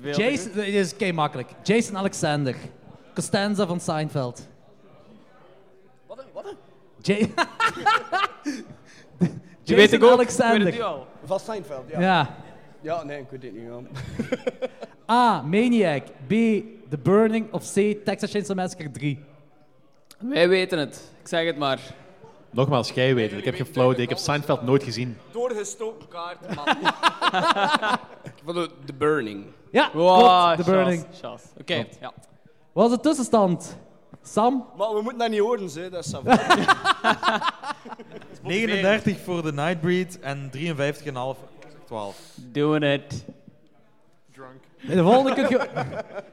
[SPEAKER 1] Veel te
[SPEAKER 2] Jason, dit is kei makkelijk. Jason Alexander. Costanza van Seinfeld.
[SPEAKER 12] Wat? een- Wat? een-
[SPEAKER 2] Ja-
[SPEAKER 12] Die
[SPEAKER 2] Jason
[SPEAKER 12] weet ik ook.
[SPEAKER 2] Alexander.
[SPEAKER 12] Ik weet het nu al. Van Seinfeld, ja.
[SPEAKER 2] Ja.
[SPEAKER 12] Ja, nee, ik weet het niet, man.
[SPEAKER 2] A. Maniac. B. The Burning. Of C. Texas Chainsaw Massacre 3.
[SPEAKER 1] Wij weten het, ik zeg het maar.
[SPEAKER 9] Nogmaals, jij weet het. Ik heb geen flauw idee. Ik heb Seinfeld nooit gezien.
[SPEAKER 12] Doorgestoken kaart, man. ik vond het The Burning.
[SPEAKER 2] Ja,
[SPEAKER 1] Wow,
[SPEAKER 2] klopt, The
[SPEAKER 1] chas,
[SPEAKER 2] Burning.
[SPEAKER 1] chas. Oké,
[SPEAKER 2] Klopt.
[SPEAKER 1] ja.
[SPEAKER 2] Wat is de tussenstand? Sam?
[SPEAKER 12] Maar we moeten dat niet horen, hè. dat is zo.
[SPEAKER 11] 39 voor de Nightbreed en 53,5 12.
[SPEAKER 1] Doing it.
[SPEAKER 11] Drunk.
[SPEAKER 2] Bij de volgende, kun je,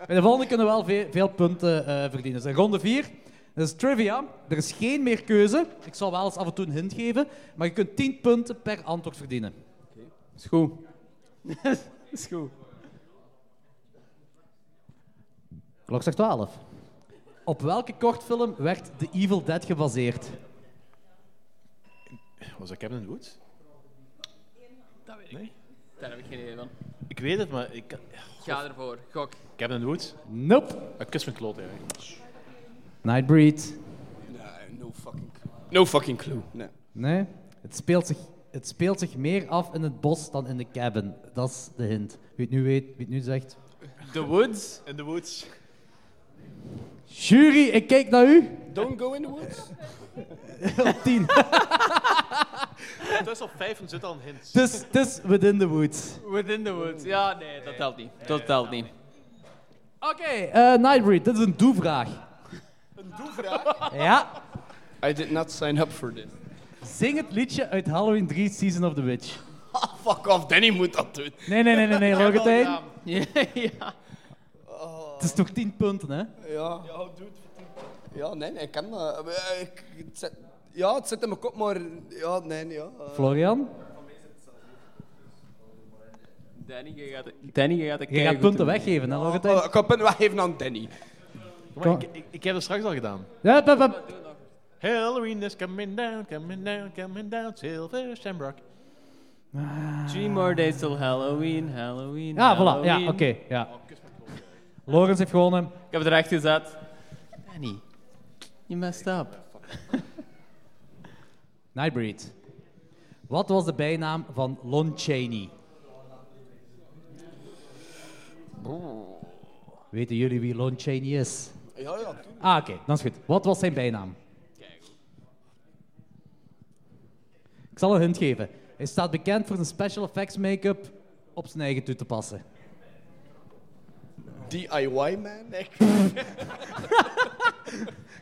[SPEAKER 2] bij de volgende kunnen we wel ve- veel punten eh, verdienen. Dus ronde 4. Dat is trivia. Er is geen meer keuze. Ik zal wel eens af en toe een hint geven. Maar je kunt 10 punten per antwoord verdienen.
[SPEAKER 1] Is goed. is goed.
[SPEAKER 2] Klok zegt 12. Op welke kortfilm werd The Evil Dead gebaseerd?
[SPEAKER 9] Was dat Cabin in the Woods?
[SPEAKER 1] Dat weet ik niet. Daar heb ik geen idee van.
[SPEAKER 9] Ik weet het, maar ik...
[SPEAKER 1] Ga ervoor, gok.
[SPEAKER 9] Cabin in the Woods?
[SPEAKER 2] Nope.
[SPEAKER 9] Ik kus mijn kloot, eigenlijk.
[SPEAKER 2] Nightbreed.
[SPEAKER 12] no fucking clue. No fucking clue. Nee.
[SPEAKER 2] Nee. Het speelt, zich, het speelt zich meer af in het bos dan in de cabin. Dat is de hint. Wie het nu weet, wie het nu zegt.
[SPEAKER 1] The Woods?
[SPEAKER 9] In the Woods.
[SPEAKER 2] Jury, ik kijk naar u.
[SPEAKER 12] Don't go in the woods.
[SPEAKER 2] Op 10.
[SPEAKER 9] Het is al vijf en zit al een hint.
[SPEAKER 2] Het is- het is Within the Woods.
[SPEAKER 1] Within the Woods. Ja, nee, dat telt niet. Dat telt niet.
[SPEAKER 2] Oké, eh, Nightbreed, dit is een doe-vraag. Ja.
[SPEAKER 12] I did not sign up for this.
[SPEAKER 2] Zing het liedje uit Halloween 3 Season of the Witch.
[SPEAKER 12] Fuck off, Danny moet dat doen.
[SPEAKER 2] Nee, nee, nee, nee, nee,
[SPEAKER 12] Ik heb
[SPEAKER 2] Rogatijn.
[SPEAKER 12] al gedaan. ja.
[SPEAKER 2] Het is toch 10 punten, hè?
[SPEAKER 12] Ja. Ja, doe Ja, nee, nee, ik kan dat. Eh, Ik, het zit- ja, het zit in mijn kop, maar... Ja, nee, nee, ja. eh.
[SPEAKER 2] Florian?
[SPEAKER 1] Danny, je gaat Danny, je gaat,
[SPEAKER 2] Je gaat punten weggeven, hè,
[SPEAKER 7] Oh,
[SPEAKER 2] Rogatijn?
[SPEAKER 12] Eh, ik ga punten weggeven aan Danny.
[SPEAKER 9] Maar ik, ik, ik heb dat straks al gedaan.
[SPEAKER 2] Ja, pap, pap.
[SPEAKER 9] Halloween is coming down, coming down, coming down. Silver Shamrock.
[SPEAKER 1] Three more days till Halloween, Halloween,
[SPEAKER 2] Ja, voilà.
[SPEAKER 1] Halloween.
[SPEAKER 2] Ja, oké. ja. Logans heeft gewonnen.
[SPEAKER 1] Ik heb het recht gezet. Danny, you messed up.
[SPEAKER 2] Nightbreed. Wat was de bijnaam van Lon Chaney? Weten jullie wie Lon Chaney is?
[SPEAKER 12] Ja, ja.
[SPEAKER 2] Ah, oké, dan is goed. Wat was zijn bijnaam? Ik zal een hint geven. Hij staat bekend voor zijn special effects make-up op zijn eigen toe te passen.
[SPEAKER 12] DIY, man. Ik.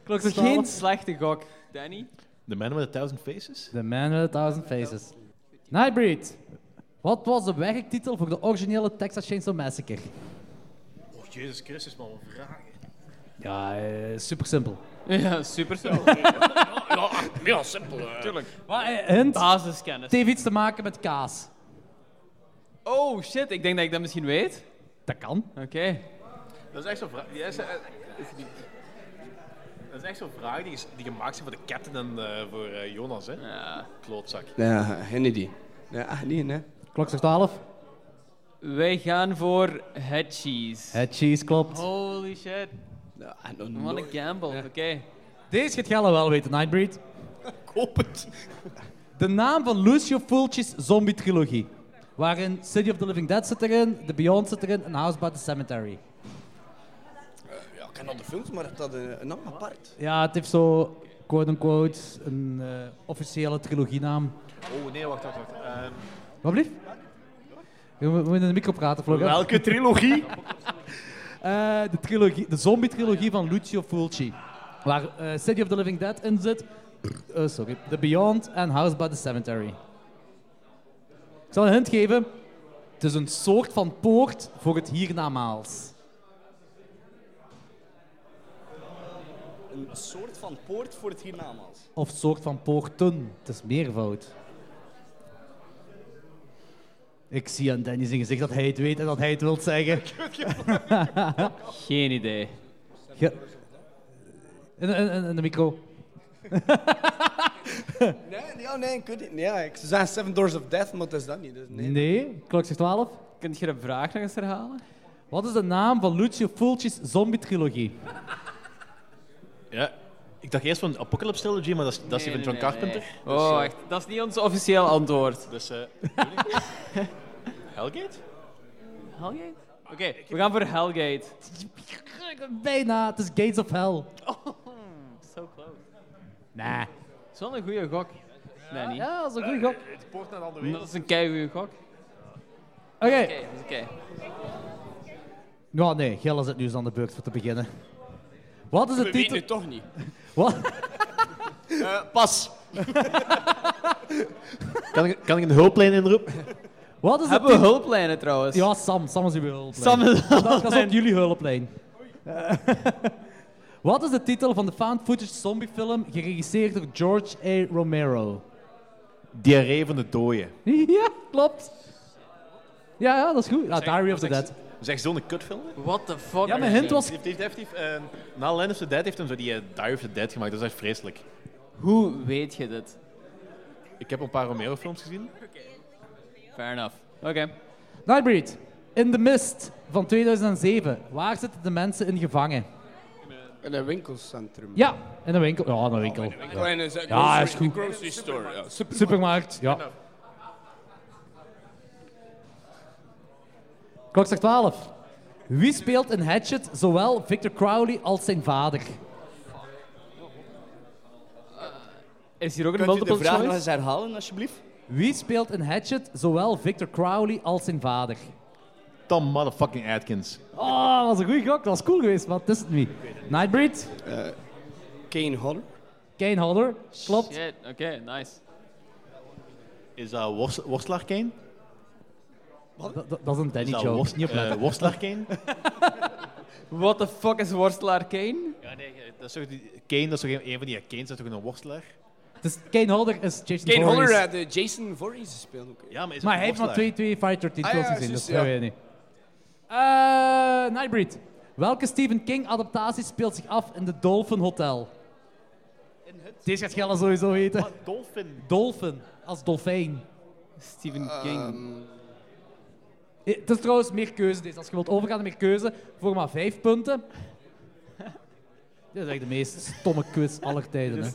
[SPEAKER 2] Klok zegt
[SPEAKER 1] Geen
[SPEAKER 2] 12.
[SPEAKER 1] slechte gok. Danny?
[SPEAKER 9] The Man with a Thousand Faces?
[SPEAKER 2] The Man with a Thousand Faces. Nightbreed. Wat was de werktitel voor de originele Texas Chainsaw Massacre?
[SPEAKER 9] Oh, Jezus Christus, man. Wat vragen.
[SPEAKER 2] Ja, eh, super simpel.
[SPEAKER 1] Ja, super zo.
[SPEAKER 9] Ja, ja, simpel.
[SPEAKER 1] Tuurlijk. eh,
[SPEAKER 2] hint?
[SPEAKER 1] Basiskennis.
[SPEAKER 2] Het heeft iets te maken met kaas.
[SPEAKER 1] Oh shit, ik denk dat ik dat misschien weet.
[SPEAKER 2] Dat kan.
[SPEAKER 1] Oké.
[SPEAKER 9] Dat is echt zo'n vraag. Die is, eh, is die- dat is echt zo'n vraag die, is- die gemaakt zijn voor de captain en eh, voor eh, Jonas, hè? Klootzak.
[SPEAKER 12] Nee, geen idee. Nee, echt niet, nee.
[SPEAKER 2] Klok zegt 12.
[SPEAKER 1] Wij gaan voor head cheese.
[SPEAKER 2] Het cheese klopt.
[SPEAKER 1] Holy shit. I want
[SPEAKER 12] nooit.
[SPEAKER 1] to gamble. Oké.
[SPEAKER 2] Deze gaat Gelle wel weten, Nightbreed.
[SPEAKER 12] Ik hoop het.
[SPEAKER 2] De naam van Lucio Fulci's zombie-trilogie. Waarin City of the Living Dead zit erin, The Beyond zit erin en House by the Cemetery.
[SPEAKER 12] Ja, ik ken al de films, maar het had een, een naam apart.
[SPEAKER 2] Ja, het heeft zo, quote-unquote, een eh, officiële trilogienaam.
[SPEAKER 9] Oh nee, wacht, wacht, wacht. Ehm,
[SPEAKER 2] Wat blieft? We we moeten in de micro praten, Florian.
[SPEAKER 9] welke trilogie?
[SPEAKER 2] Eh, de, trilogie, de zombie-trilogie van Lucio Fulci. Waar eh, City of the Living Dead in zit. Eh, sorry. The Beyond en House by the Cemetery. Ik zal een hint geven. Het Het is een soort van poort voor het hiernamaals.
[SPEAKER 12] Een soort van poort voor het hiernamaals.
[SPEAKER 2] Of soort van poorten. Het is meervoud. Ik zie aan Danny zijn gezicht dat hij het weet en dat hij het wil zeggen.
[SPEAKER 1] Geen idee.
[SPEAKER 2] Ge- en, en, en- en de micro.
[SPEAKER 12] Nee, ja, nee, ik weet het niet. Ja, ik zou zeggen Seven Doors of Death, maar dat is dat niet. Dus nee.
[SPEAKER 2] Nee, klok zegt 12.
[SPEAKER 1] Kunt je de vraag nog eens herhalen?
[SPEAKER 2] Wat is de naam van Lucio Fulci's zombie-trilogie?
[SPEAKER 9] Ja. Ik dacht eerst van Apocalypse Trilogy, maar dat is, dat is die
[SPEAKER 1] Nee,
[SPEAKER 9] van
[SPEAKER 1] nee,
[SPEAKER 9] John
[SPEAKER 1] nee,
[SPEAKER 9] Carpenter.
[SPEAKER 1] nee. Oh, echt. Dat is niet ons officieel antwoord.
[SPEAKER 9] Dus, eh Hellgate?
[SPEAKER 1] Hellgate? Oké, we gaan voor Hellgate.
[SPEAKER 2] Bijna, het is Gates of Hell.
[SPEAKER 1] So close.
[SPEAKER 2] Nee.
[SPEAKER 1] Dat is wel een goede gok. Nee, niet.
[SPEAKER 2] ja, Ah, dat is een goede gok.
[SPEAKER 1] Het poort naar de andere Dat is een keigoede gok.
[SPEAKER 2] Oké.
[SPEAKER 1] dat is oké.
[SPEAKER 2] Nou nee, Gel is het nu eens aan de beurt voor te beginnen. Wat is de
[SPEAKER 12] We
[SPEAKER 2] titel?
[SPEAKER 12] weten het toch niet.
[SPEAKER 2] Wat?
[SPEAKER 12] Eh, pas.
[SPEAKER 9] Kan ik, kan ik een hulplijn inroepen?
[SPEAKER 2] Wat is de
[SPEAKER 1] Hebben we
[SPEAKER 2] titel-
[SPEAKER 1] hulplijnen trouwens?
[SPEAKER 2] Ja, Sam. Sam is uw hulplijn.
[SPEAKER 1] Sam is de
[SPEAKER 2] Dat- Dat is
[SPEAKER 1] hulplijn.
[SPEAKER 2] ook jullie hulplijn. Wat is de titel van de found footage zombiefilm geregisseerd door George A. Romero?
[SPEAKER 9] Diarree van de dooien.
[SPEAKER 2] ja, klopt. Ja, ja, dat is goed. Ja, Nou, Diary of the Dead.
[SPEAKER 9] Zeg zo'n kutfilm?
[SPEAKER 1] What the fuck?
[SPEAKER 2] Ja, mijn hint was-
[SPEAKER 9] Heeft, heeft, heeft, heeft, eh, na Land of the Dead heeft hem zo die eh, Diary of the Dead gemaakt. Dat is echt vreselijk.
[SPEAKER 1] Hoe weet je dit?
[SPEAKER 9] Ik heb een paar Romero-films gezien.
[SPEAKER 1] Fair enough. Oké.
[SPEAKER 2] Nightbreed. In the Mist van 2007. Waar zitten de mensen in gevangen?
[SPEAKER 7] In een winkelcentrum.
[SPEAKER 2] Ja, in een winkel. Ja, Oh, in een winkel.
[SPEAKER 7] Kleine
[SPEAKER 2] Ja,
[SPEAKER 7] z-
[SPEAKER 2] ja is
[SPEAKER 7] grocery-
[SPEAKER 2] goed.
[SPEAKER 7] grocery store. ja. Super-
[SPEAKER 2] Supermarkt, ja. Klok zegt 12. Wie speelt in Hatchet zowel Victor Crowley als zijn vader?
[SPEAKER 1] Is hier ook
[SPEAKER 12] Kunt u de vraag nog eens herhalen, alsjeblieft?
[SPEAKER 2] Wie speelt in Hatchet zowel Victor Crowley als zijn vader?
[SPEAKER 9] Tom motherfucking Atkins.
[SPEAKER 2] Oh, dat was een goede gok. Dat was cool geweest, maar het is het niet. Nightbreed?
[SPEAKER 12] Kane Hodder.
[SPEAKER 2] Kane Hodder, klopt.
[SPEAKER 1] Shit, oké, nice.
[SPEAKER 9] Is dat worst, Worstelaar Kane?
[SPEAKER 2] Dat, dat- dat is een Danny
[SPEAKER 9] Is dat
[SPEAKER 2] joke.
[SPEAKER 9] worst-
[SPEAKER 2] niet opletten.
[SPEAKER 9] eh, worstelaar Kane?
[SPEAKER 1] What the fuck is worstelaar Kane?
[SPEAKER 9] Ja, nee, eh, dat is toch die, Kane, dat is toch een, een van die Kane's, dat is toch een worstelaar?
[SPEAKER 2] Dus Kane Hodder is Jason
[SPEAKER 7] Kane Hodder,
[SPEAKER 2] Voorhees.
[SPEAKER 7] eh, de Jason Voorhees speelt ook.
[SPEAKER 9] Ja, maar is
[SPEAKER 2] Maar hij heeft maar twee, twee Fighter 13
[SPEAKER 7] Ah,
[SPEAKER 2] films
[SPEAKER 7] ja,
[SPEAKER 2] gezien,
[SPEAKER 7] juist,
[SPEAKER 2] dus dat
[SPEAKER 7] ja.
[SPEAKER 2] weet je niet. Eh, Nightbreed. Welke Stephen King-adaptatie speelt zich af in de Dolphin Hotel? Deze gaat Gelle sowieso weten.
[SPEAKER 9] Dolphin.
[SPEAKER 2] Dolphin, als dolfijn.
[SPEAKER 1] Stephen King.
[SPEAKER 2] Eh, Het is trouwens meer keuze deze. Als je wilt overgaan naar meer keuze, voor maar vijf punten. Dit is echt de meest stomme quiz aller tijden. Hè.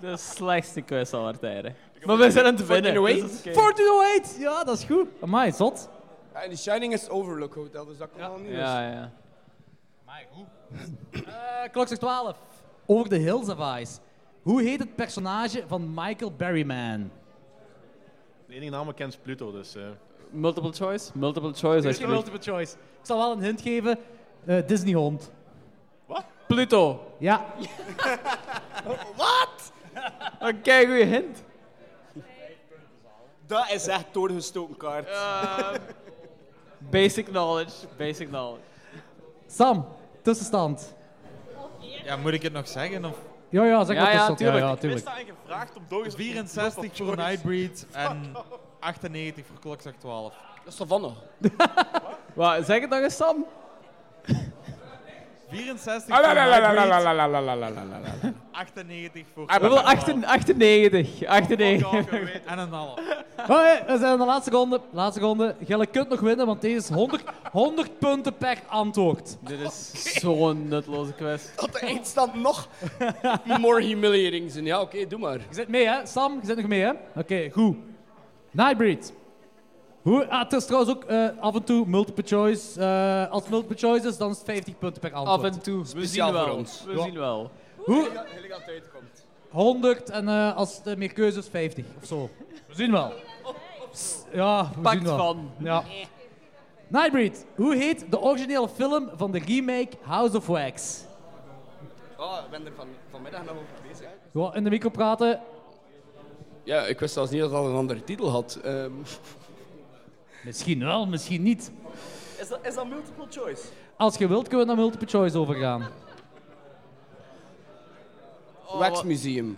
[SPEAKER 1] De slechtste quiz aller tijden. Maar we zijn aan het winnen. dus dat is oké.
[SPEAKER 2] 1408! Ja, dat is goed. Amai, zot.
[SPEAKER 7] Ja, en The Shining is Overlook Hotel, dus dat kan al niet.
[SPEAKER 1] Ja, ja.
[SPEAKER 2] Eh, klok zegt 12. Over de Hills of Ice. Hoe heet het personage van Michael Berryman?
[SPEAKER 9] De enige naam kent is Pluto, dus... eh.
[SPEAKER 1] Multiple choice? Multiple choice,
[SPEAKER 2] Misschien
[SPEAKER 1] alsjeblieft.
[SPEAKER 2] multiple choice. Ik zal wel een hint geven. Eh, Disney hond.
[SPEAKER 1] Pluto.
[SPEAKER 2] Ja.
[SPEAKER 12] Wat?
[SPEAKER 1] Een keigoeie hint.
[SPEAKER 12] Dat is echt doorgestoken kaart.
[SPEAKER 1] Basic knowledge. Basic knowledge.
[SPEAKER 2] Sam, tussenstand.
[SPEAKER 11] Ja, moet ik het nog zeggen? Of?
[SPEAKER 2] Ja, ja, zeg
[SPEAKER 1] Ja,
[SPEAKER 2] maar
[SPEAKER 1] ja,
[SPEAKER 2] tussenstand.
[SPEAKER 1] tuurlijk.
[SPEAKER 2] Ja, ja,
[SPEAKER 1] Ik
[SPEAKER 2] tuurlijk.
[SPEAKER 9] gevraagd om dood
[SPEAKER 11] 64 voor Nightbreed en 98 voor Klokslag 12.
[SPEAKER 7] Dat is Savannah.
[SPEAKER 1] Wat, zeg het nog eens, Sam.
[SPEAKER 11] 64 voor Nightbreed, 98 voor
[SPEAKER 1] Hoeveel?
[SPEAKER 11] Klokslag 12.
[SPEAKER 1] 98.
[SPEAKER 7] Ah,
[SPEAKER 1] 98.
[SPEAKER 11] En een half.
[SPEAKER 2] Hoi, we zijn aan de laatste ronde. Laatste ronde. Gelle kunt nog winnen, want deze is 100, 100 punten per antwoord.
[SPEAKER 1] Dit is zo'n nutloze quiz.
[SPEAKER 7] Dat de eindstand nog more humiliating zijn. Ja, oké, doe maar.
[SPEAKER 2] Je zit mee, hè? Sam, je zit nog mee, hè? Oké, goed. Nightbreed. Hoe, ah, het is trouwens ook eh, af en toe multiple choice. Eh, als het multiple choice is, dan is het 50 punten per antwoord.
[SPEAKER 1] Af en toe. We zien
[SPEAKER 7] Speciaal voor
[SPEAKER 1] wel.
[SPEAKER 7] ons.
[SPEAKER 1] We
[SPEAKER 2] Ja.
[SPEAKER 1] zien wel.
[SPEAKER 2] Hoe?
[SPEAKER 7] Illegaal uitkomt.
[SPEAKER 2] 100 en eh, als het eh, meer keuze is 50 of zo. We zien wel. S- Ja, we
[SPEAKER 1] Pakt
[SPEAKER 2] zien wel.
[SPEAKER 1] van.
[SPEAKER 2] Ja. Nightbreed, hoe heet de originele film van de remake House of Wax?
[SPEAKER 7] Oh, ik ben er van, vanmiddag nog over bezig.
[SPEAKER 2] Gewoon in de micro praten.
[SPEAKER 7] Ja, ik wist zelfs niet dat dat een andere titel had. Ehm,
[SPEAKER 2] Misschien wel, misschien niet.
[SPEAKER 12] Is dat, is dat multiple choice?
[SPEAKER 2] Als je wilt, kunnen we naar multiple choice overgaan.
[SPEAKER 7] Wax Museum.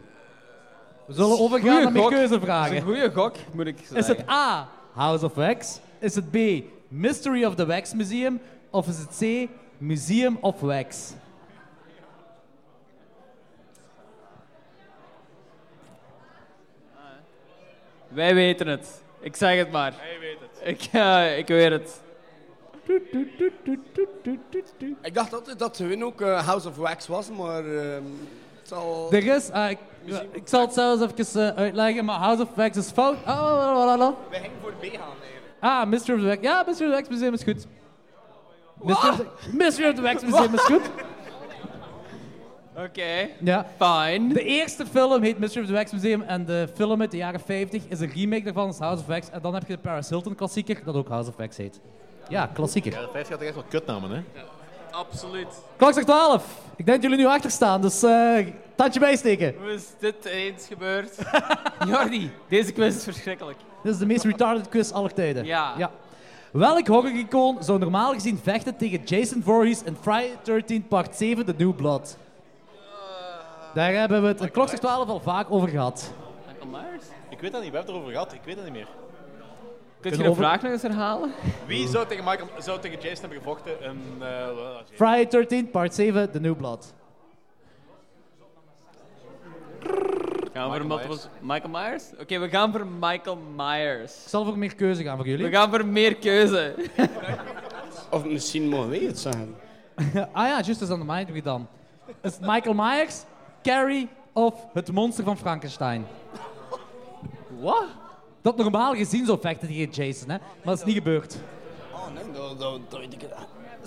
[SPEAKER 2] We zullen overgaan naar meer keuzevragen.
[SPEAKER 1] goede gok, moet ik zeggen.
[SPEAKER 2] Is het A, House of Wax? Is het B, Mystery of the Wax Museum? Of is het C, Museum of Wax?
[SPEAKER 1] Wij weten het. Ik zeg het maar.
[SPEAKER 8] Hij weet het.
[SPEAKER 1] Ik, eh, ik weet het.
[SPEAKER 7] Ik dacht altijd dat hun ook eh, House of Wax was, maar ehm, het zal...
[SPEAKER 2] Er is, ah, ik, ik zal het zelfs even eh, uitleggen, maar House of Wax is fout. Ah, la, la, la, la.
[SPEAKER 12] Wij gingen voor B gaan eigenlijk.
[SPEAKER 2] Ah, Mystery of the Wax. Ja, Mystery of the Wax Museum is goed. Mystery of the- Mystery of the Wax Museum is goed.
[SPEAKER 1] Oké.
[SPEAKER 2] Ja.
[SPEAKER 1] Fine.
[SPEAKER 2] De eerste film heet Mystery of the Wax Museum en de film uit de jaren 50 is een remake daarvan, is House of Wax. En dan heb je de Paris Hilton klassieker, dat ook House of Wax heet. Ja, klassieker.
[SPEAKER 9] Ja, de 50 had echt wel kutnamen, hè?
[SPEAKER 1] Absoluut.
[SPEAKER 2] Klok zegt 12. Ik denk dat jullie nu achter staan, dus eh tandje bijsteken.
[SPEAKER 1] Hoe is dit eens gebeurd? Jordi, deze quiz is verschrikkelijk.
[SPEAKER 2] Dit is de meest retarded quiz aller tijden.
[SPEAKER 1] Ja.
[SPEAKER 2] Welk horror-icoon zou normaal gezien vechten tegen Jason Voorhees in Friday 13 Part 7 The New Blood?
[SPEAKER 1] Eh.
[SPEAKER 2] Daar hebben we het in klok zegt 12 al vaak over gehad.
[SPEAKER 9] Ik weet dat niet, we hebben het erover gehad. Ik weet dat niet meer.
[SPEAKER 1] Kun
[SPEAKER 2] je de vraag nog eens herhalen?
[SPEAKER 9] Wie zou tegen, Michael, zou tegen Jason hebben gevochten in... eh,
[SPEAKER 2] Friday 13 Part 7 The New Blood.
[SPEAKER 1] Gaan we voor multiple... Michael Myers? Oké, we gaan voor Michael Myers.
[SPEAKER 2] Ik zal voor meer keuze gaan voor jullie.
[SPEAKER 1] We gaan voor meer keuze.
[SPEAKER 7] Of misschien mogen wij het zeggen.
[SPEAKER 2] ah ja, juist is aan de mind wie dan. Is het Michael Myers, Carrie of het monster van Frankenstein? Wat? Dat normaal gezien zou vechten tegen Jason, hè? maar dat is niet gebeurd.
[SPEAKER 12] Oh nee, dat, dat, dat weet ik niet.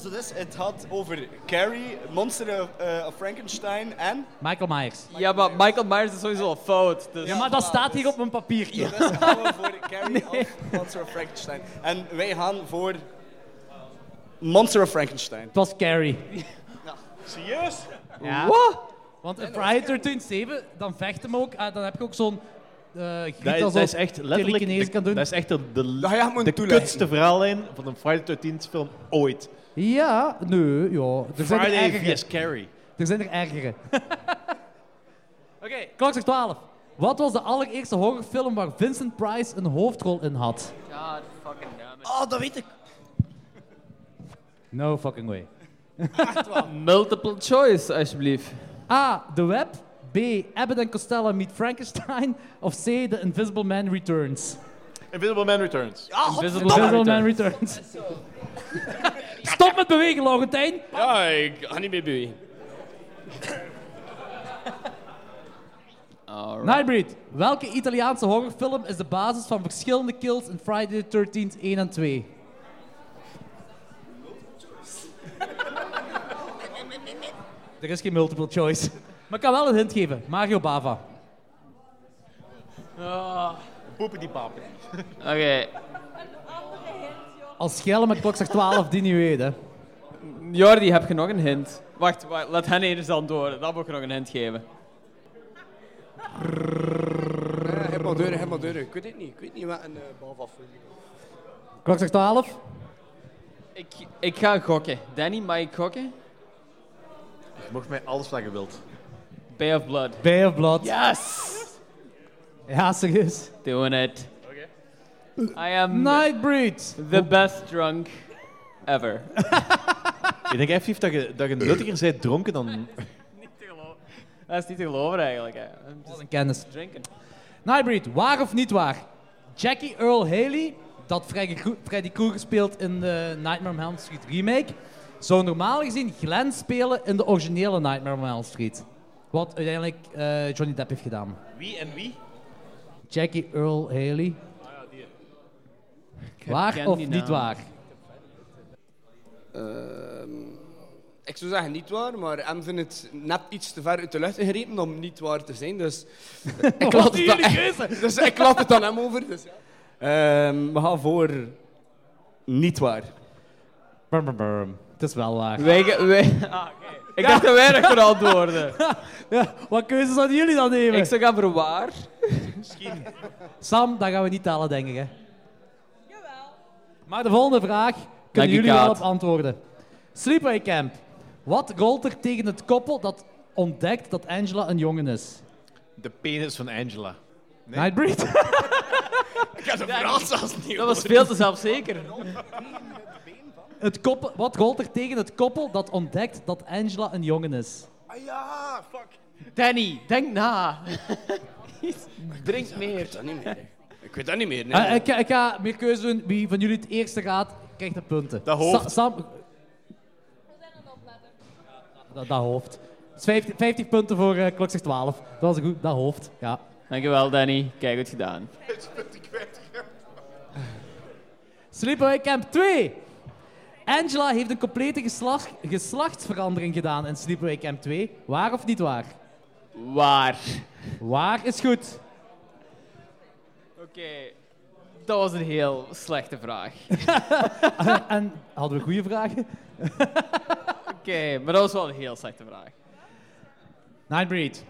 [SPEAKER 12] Zo dus, het had over Carrie, Monster of, eh, of Frankenstein en...
[SPEAKER 2] Michael Myers.
[SPEAKER 1] Ja, maar Michael Myers is sowieso al fout. Dus...
[SPEAKER 2] Ja, maar dat staat hier op mijn papiertje.
[SPEAKER 12] Dus gaan we voor Carrie of Monster of Frankenstein. En wij gaan voor... Monster of Frankenstein. Het
[SPEAKER 2] was Carrie.
[SPEAKER 12] Serieus?
[SPEAKER 2] Ja.
[SPEAKER 12] Wat?
[SPEAKER 2] Want in Friday 13 7, dan vecht hem ook. Ah, dan heb je ook zo'n eh griet
[SPEAKER 9] Dat, is-
[SPEAKER 2] alsof
[SPEAKER 9] dat is echt letterlijk
[SPEAKER 2] telekinees
[SPEAKER 9] de,
[SPEAKER 2] kan doen.
[SPEAKER 9] dat is echt de, de,
[SPEAKER 2] Dat ga je hem
[SPEAKER 9] de
[SPEAKER 2] moeten toelichten.
[SPEAKER 9] kutste verhaallijn van een Friday the 13th film ooit.
[SPEAKER 2] Ja, nee, ja. Er zijn er
[SPEAKER 9] Friday
[SPEAKER 2] ergere.
[SPEAKER 9] vs. Carrie.
[SPEAKER 2] Er zijn er ergere. Oké, klok zegt 12. Wat was de allereerste horrorfilm waar Vincent Price een hoofdrol in had?
[SPEAKER 1] God fucking damn it.
[SPEAKER 12] Oh, dat weet ik.
[SPEAKER 2] No fucking way.
[SPEAKER 1] Multiple choice, alsjeblieft.
[SPEAKER 2] A. The Web. B. Abbott and Costello meet Frankenstein. Of C. The Invisible Man Returns.
[SPEAKER 9] Invisible Man Returns.
[SPEAKER 2] Invisible, Man Returns. Stop met bewegen, Laurentijn.
[SPEAKER 7] Ja, ik ga niet meer bewegen.
[SPEAKER 2] Nightbreed. Welke Italiaanse horrorfilm is de basis van verschillende kills in Friday the 13th 1 en 2? Er is geen multiple choice. Maar ik kan wel een hint geven. Mario Bava.
[SPEAKER 9] Poepen die papen.
[SPEAKER 1] Oké.
[SPEAKER 2] Als schellen met klok zegt 12, die niet weet, hè.
[SPEAKER 1] Jordi, heb je nog een hint? Wacht, wacht laat hen eerst antwoorden. Dan moet je nog een hint geven.
[SPEAKER 7] eh, Helemaal deuren, helemaal deuren. Ik weet het niet. Ik weet niet wat een uh, behalve afvoering.
[SPEAKER 2] Klok zegt 12.
[SPEAKER 1] Ik, ik ga gokken. Danny, mag ik gokken?
[SPEAKER 9] Je mocht mij alles wat je wilt.
[SPEAKER 1] Bay of Blood.
[SPEAKER 2] Bay of Blood.
[SPEAKER 1] Yes!
[SPEAKER 2] Ja, serieus.
[SPEAKER 1] Doing it. I am
[SPEAKER 2] Nightbreed.
[SPEAKER 1] the best drunk ever.
[SPEAKER 9] Ik denk effectief dat je, dat je nuttiger bent dronken dan...
[SPEAKER 1] Dat is niet te geloven eigenlijk. Hè. I'm just
[SPEAKER 2] Wat een kennis.
[SPEAKER 1] Drinken.
[SPEAKER 2] Nightbreed, waar of niet waar? Jackie Earl Haley, dat Freddy Kro- Freddy Krueger speelt in de Nightmare on Elm Street remake, zou normaal gezien Glenn spelen in de originele Nightmare on Elm Street. Wat uiteindelijk eh, Johnny Depp heeft gedaan.
[SPEAKER 9] Wie en wie? Ah
[SPEAKER 2] Jackie Earl Haley. Waar
[SPEAKER 7] ken
[SPEAKER 2] of
[SPEAKER 7] die
[SPEAKER 2] niet
[SPEAKER 7] naam.
[SPEAKER 2] waar?
[SPEAKER 7] Ehm, ik zou zeggen niet waar, maar hem vindt het net iets te ver uit de lucht gegrepen om niet waar te zijn. Dus ik laat het aan, dus ik laat het aan hem over. Dus, ja. Ehm, we gaan voor niet waar.
[SPEAKER 2] Brum, brum, brum. Het is wel waar.
[SPEAKER 1] Wij, ge- wij, ah, oké. Ik dacht dat wij nog voor antwoorden.
[SPEAKER 2] ja, wat keuzes hadden jullie dan nemen?
[SPEAKER 1] Ik zou gaan voor waar.
[SPEAKER 2] Sam, dat gaan we niet tellen, denk ik. Hè? Maar de volgende vraag kunnen
[SPEAKER 1] Dank je,
[SPEAKER 2] jullie wel
[SPEAKER 1] Kaat.
[SPEAKER 2] op antwoorden. Sleepaway Camp. Wat rolt er tegen het koppel dat ontdekt dat Angela een jongen is?
[SPEAKER 9] De penis van Angela.
[SPEAKER 2] Nightbreed?
[SPEAKER 9] Ik heb een Frans als nieuw.
[SPEAKER 1] Dat was veel te zelfzeker.
[SPEAKER 2] het koppel, wat rolt er tegen het koppel dat ontdekt dat Angela een jongen is?
[SPEAKER 12] Ah ja, fuck.
[SPEAKER 1] Danny, denk na.
[SPEAKER 7] Drink meer. Ik weet dat niet meer. Ik weet dat niet meer.
[SPEAKER 2] Eh, ik, ga- ik ga meer keuze doen. Wie van jullie het eerste gaat, krijgt de punten.
[SPEAKER 7] Dat hoofd.
[SPEAKER 2] Sa- Sam- dat, dat hoofd. Het is 50, 50 punten voor eh klok 12. Dat was goed, dat hoofd. Ja.
[SPEAKER 1] Dankjewel, Danny. Kijk, goed gedaan.
[SPEAKER 2] Sleepaway Camp 2. Angela heeft een complete geslacht, geslachtsverandering gedaan in Sleepaway Camp 2. Waar of niet waar?
[SPEAKER 1] Waar.
[SPEAKER 2] Waar is goed.
[SPEAKER 1] Oké, dat was een heel slechte vraag.
[SPEAKER 2] en, en hadden we goede vragen?
[SPEAKER 1] Oké, maar dat was wel een heel slechte vraag.
[SPEAKER 2] Nightbreed.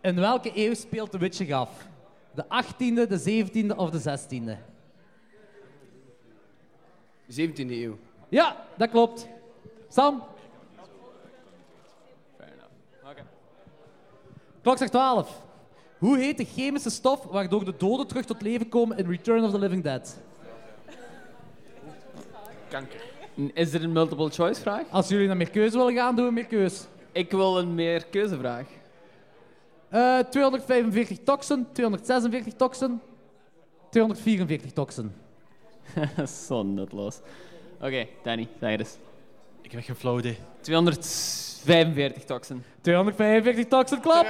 [SPEAKER 2] In welke eeuw speelt The Witcher af? De 18e, de 17e of de 16e?
[SPEAKER 7] 17e eeuw.
[SPEAKER 2] Ja, dat klopt. Sam? Klok zegt 12. Hoe heet de chemische stof waardoor de doden terug tot leven komen in Return of the Living Dead?
[SPEAKER 1] Kanker. Is er een multiple choice vraag?
[SPEAKER 2] Als jullie naar meer keuze willen gaan, doen we meer keus.
[SPEAKER 1] Ik wil een meer keuzevraag.
[SPEAKER 2] Eh, 245 toxen, 246 toxen, 244 toxen.
[SPEAKER 1] Zo nutloos. Oké, Danny, zeg het eens.
[SPEAKER 9] Ik heb geen flauw idee.
[SPEAKER 1] 245 toxen.
[SPEAKER 2] 245 toxen, klopt!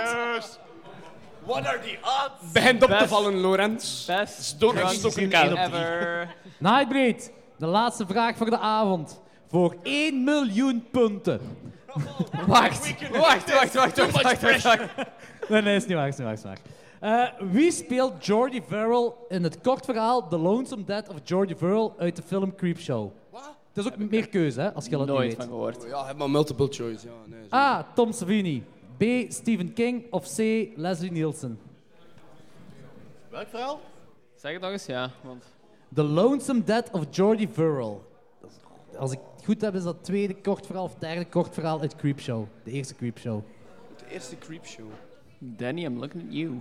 [SPEAKER 7] What are the odds?
[SPEAKER 1] Begint op te Best-
[SPEAKER 7] vallen, Lorenz.
[SPEAKER 1] Best
[SPEAKER 7] Door
[SPEAKER 1] drunk
[SPEAKER 7] elkaar.
[SPEAKER 1] ever.
[SPEAKER 2] Nightbreed, de laatste vraag voor de avond. Voor 1 miljoen punten.
[SPEAKER 1] Wacht, wacht, wacht, wacht, wacht, wacht, wacht, wacht.
[SPEAKER 2] Nee, nee, is niet waar, is niet waar, is niet waar. Eh, wie speelt Jordi Verrill in het kort verhaal The Lonesome Dead of Jordi Verrill uit de film Creepshow? Dat is ook meer keuze, hè, als je dat niet weet.
[SPEAKER 7] Ja, heb maar multiple choice. Ja, nee, zo.
[SPEAKER 2] A. Tom Savini. B. Stephen King. Of C. Leslie Nielsen.
[SPEAKER 1] Welk verhaal? Zeg het nog eens, ja. Want...
[SPEAKER 2] The Lonesome Dead of Jordi Verrill. Dat is- Als ik het goed heb, is dat tweede kort verhaal of derde kort verhaal uit Creepshow. De eerste Creepshow.
[SPEAKER 1] Ah.
[SPEAKER 7] De eerste creepshow.
[SPEAKER 1] Danny, I'm looking at you.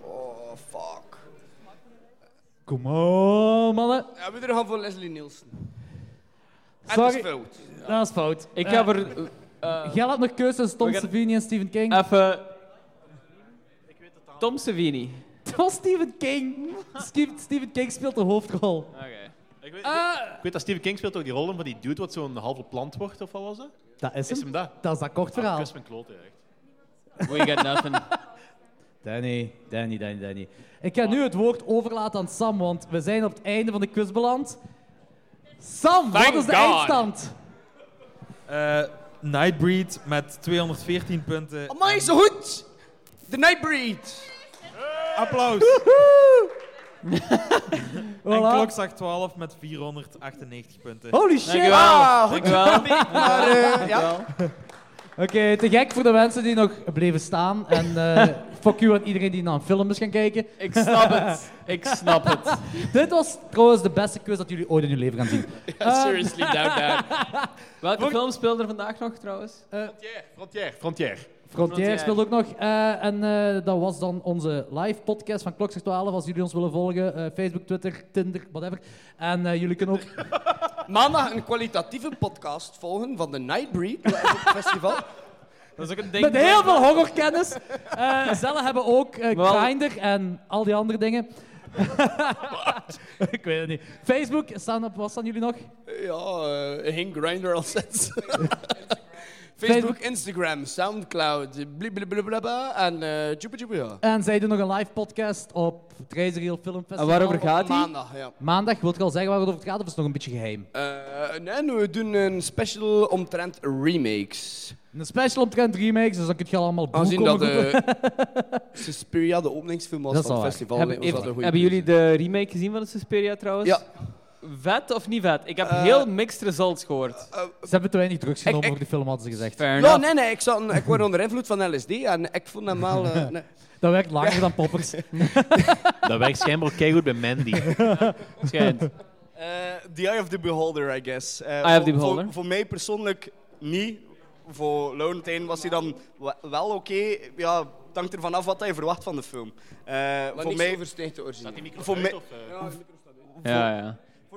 [SPEAKER 7] Oh, fuck.
[SPEAKER 2] Kom on, mannen.
[SPEAKER 7] Ja, we er gaan voor Leslie Nielsen. En
[SPEAKER 2] Sorry.
[SPEAKER 7] dat is fout.
[SPEAKER 2] Dat is fout.
[SPEAKER 1] Ik
[SPEAKER 2] Eh,
[SPEAKER 1] heb er... eh, eh,
[SPEAKER 2] Jij had nog keuze tussen Tom
[SPEAKER 1] We gaan-
[SPEAKER 2] Savini en Stephen
[SPEAKER 7] Eh,
[SPEAKER 2] King.
[SPEAKER 1] Even... Tom Savini.
[SPEAKER 2] Het was Stephen King. Steve- Stephen King speelt de hoofdrol.
[SPEAKER 1] Oké.
[SPEAKER 9] Ik weet, ik weet dat Stephen King speelt ook die rollen van die dude wat zo'n halve plant wordt, of wat was dat?
[SPEAKER 2] Dat is hem.
[SPEAKER 9] Is hem dat?
[SPEAKER 2] Dat Ah, is dat kort verhaal.
[SPEAKER 9] Kus mijn kloten, echt.
[SPEAKER 1] We got nothing.
[SPEAKER 2] Danny, Danny, Danny, Danny. Ik ga nu het woord overlaten aan Sam, want we zijn op het einde van de quiz beland. Sam, wat
[SPEAKER 8] Thank
[SPEAKER 2] is de
[SPEAKER 8] God.
[SPEAKER 2] eindstand?
[SPEAKER 11] Eh, Nightbreed met 214 punten.
[SPEAKER 7] Amai, zo goed! The Nightbreed!
[SPEAKER 11] Applaus. En
[SPEAKER 2] Voilà.
[SPEAKER 11] klokslag 12 met 498 punten.
[SPEAKER 2] Holy shit!
[SPEAKER 11] Ah, goed.
[SPEAKER 7] Maar, eh, ja.
[SPEAKER 2] Oké, te gek voor de mensen die nog bleven staan. En eh, fuck you aan iedereen die naar een film is gaan kijken.
[SPEAKER 1] Ik snap het. Ik snap het.
[SPEAKER 2] Dit was trouwens de beste quiz dat jullie ooit in hun leven gaan zien. Eh,
[SPEAKER 1] Seriously, down, down. Welke film speelde er vandaag nog, trouwens?
[SPEAKER 9] Frontier, Frontier.
[SPEAKER 2] Frontier speelt ook nog. Eh, en eh, dat was dan onze live podcast van Klokzicht 12. Als jullie ons willen volgen, eh, Facebook, Twitter, Tinder, whatever. En eh, jullie kunnen ook
[SPEAKER 7] Maandag een kwalitatieve podcast volgen van The Nightbreed. Dat is het festival.
[SPEAKER 10] Dat is ook een
[SPEAKER 2] met heel veel horrorkennis. eh Zellen hebben ook eh Grindr en al die andere dingen. Ik weet het niet. Facebook, staan op, wat staan jullie nog?
[SPEAKER 7] Ja, eh geen grinder al sinds.
[SPEAKER 2] Facebook.
[SPEAKER 7] Facebook, Instagram, Soundcloud, blablabla en eh tjoepa tjoepa, ja.
[SPEAKER 2] En zij doen nog een live podcast op het Reizeriel Filmfestival.
[SPEAKER 1] En waarover gaat
[SPEAKER 7] Op
[SPEAKER 1] die?
[SPEAKER 7] Maandag, ja.
[SPEAKER 2] Maandag, wil ik al zeggen waarover het gaat, of is het nog een beetje geheim?
[SPEAKER 7] Eh, nee, we doen een special omtrent remakes.
[SPEAKER 2] Een special omtrent remakes, dus dan kun je al allemaal boeken
[SPEAKER 7] Aangezien dat
[SPEAKER 2] komen
[SPEAKER 1] eh,
[SPEAKER 2] googlen.
[SPEAKER 7] de Suspiria de openingsfilm was
[SPEAKER 2] Dat is
[SPEAKER 7] van
[SPEAKER 2] wel waar.
[SPEAKER 7] het festival.
[SPEAKER 1] Hebben,
[SPEAKER 7] nee, was dat een
[SPEAKER 1] heeft-
[SPEAKER 7] goeie
[SPEAKER 1] hebben
[SPEAKER 7] keuze.
[SPEAKER 1] jullie de remake gezien van de Suspiria, trouwens?
[SPEAKER 7] Ja.
[SPEAKER 1] Vet of niet vet? Ik heb
[SPEAKER 7] Eh,
[SPEAKER 1] heel mixed results gehoord.
[SPEAKER 2] Ze hebben te weinig drugs genomen
[SPEAKER 7] ik-
[SPEAKER 2] over die film, hadden ze gezegd.
[SPEAKER 1] Fair
[SPEAKER 7] Ja,
[SPEAKER 1] enough.
[SPEAKER 7] nee, nee, ik, zat, ik word onder invloed van LSD en ik vond hem wel... eh, nee.
[SPEAKER 2] Dat werkt langer dan poppers.
[SPEAKER 9] Dat werkt schijnbaar ook goed bij Mandy.
[SPEAKER 1] Schijnt.
[SPEAKER 14] Eh, the Eye of the Beholder, I guess. Eh,
[SPEAKER 9] Eye of
[SPEAKER 14] voor-
[SPEAKER 9] the Beholder.
[SPEAKER 14] Voor, voor mij persoonlijk niet. Voor Laurentijn was hij dan we- wel oké. Ja, het hangt ervan af wat hij verwacht van de film. Eh, voor
[SPEAKER 7] niks
[SPEAKER 14] mij
[SPEAKER 7] overstijgt de originele. Staat die micro
[SPEAKER 14] Voor
[SPEAKER 7] uit,
[SPEAKER 14] mij-
[SPEAKER 7] of, eh? Ja, de micro
[SPEAKER 9] Ja, ja.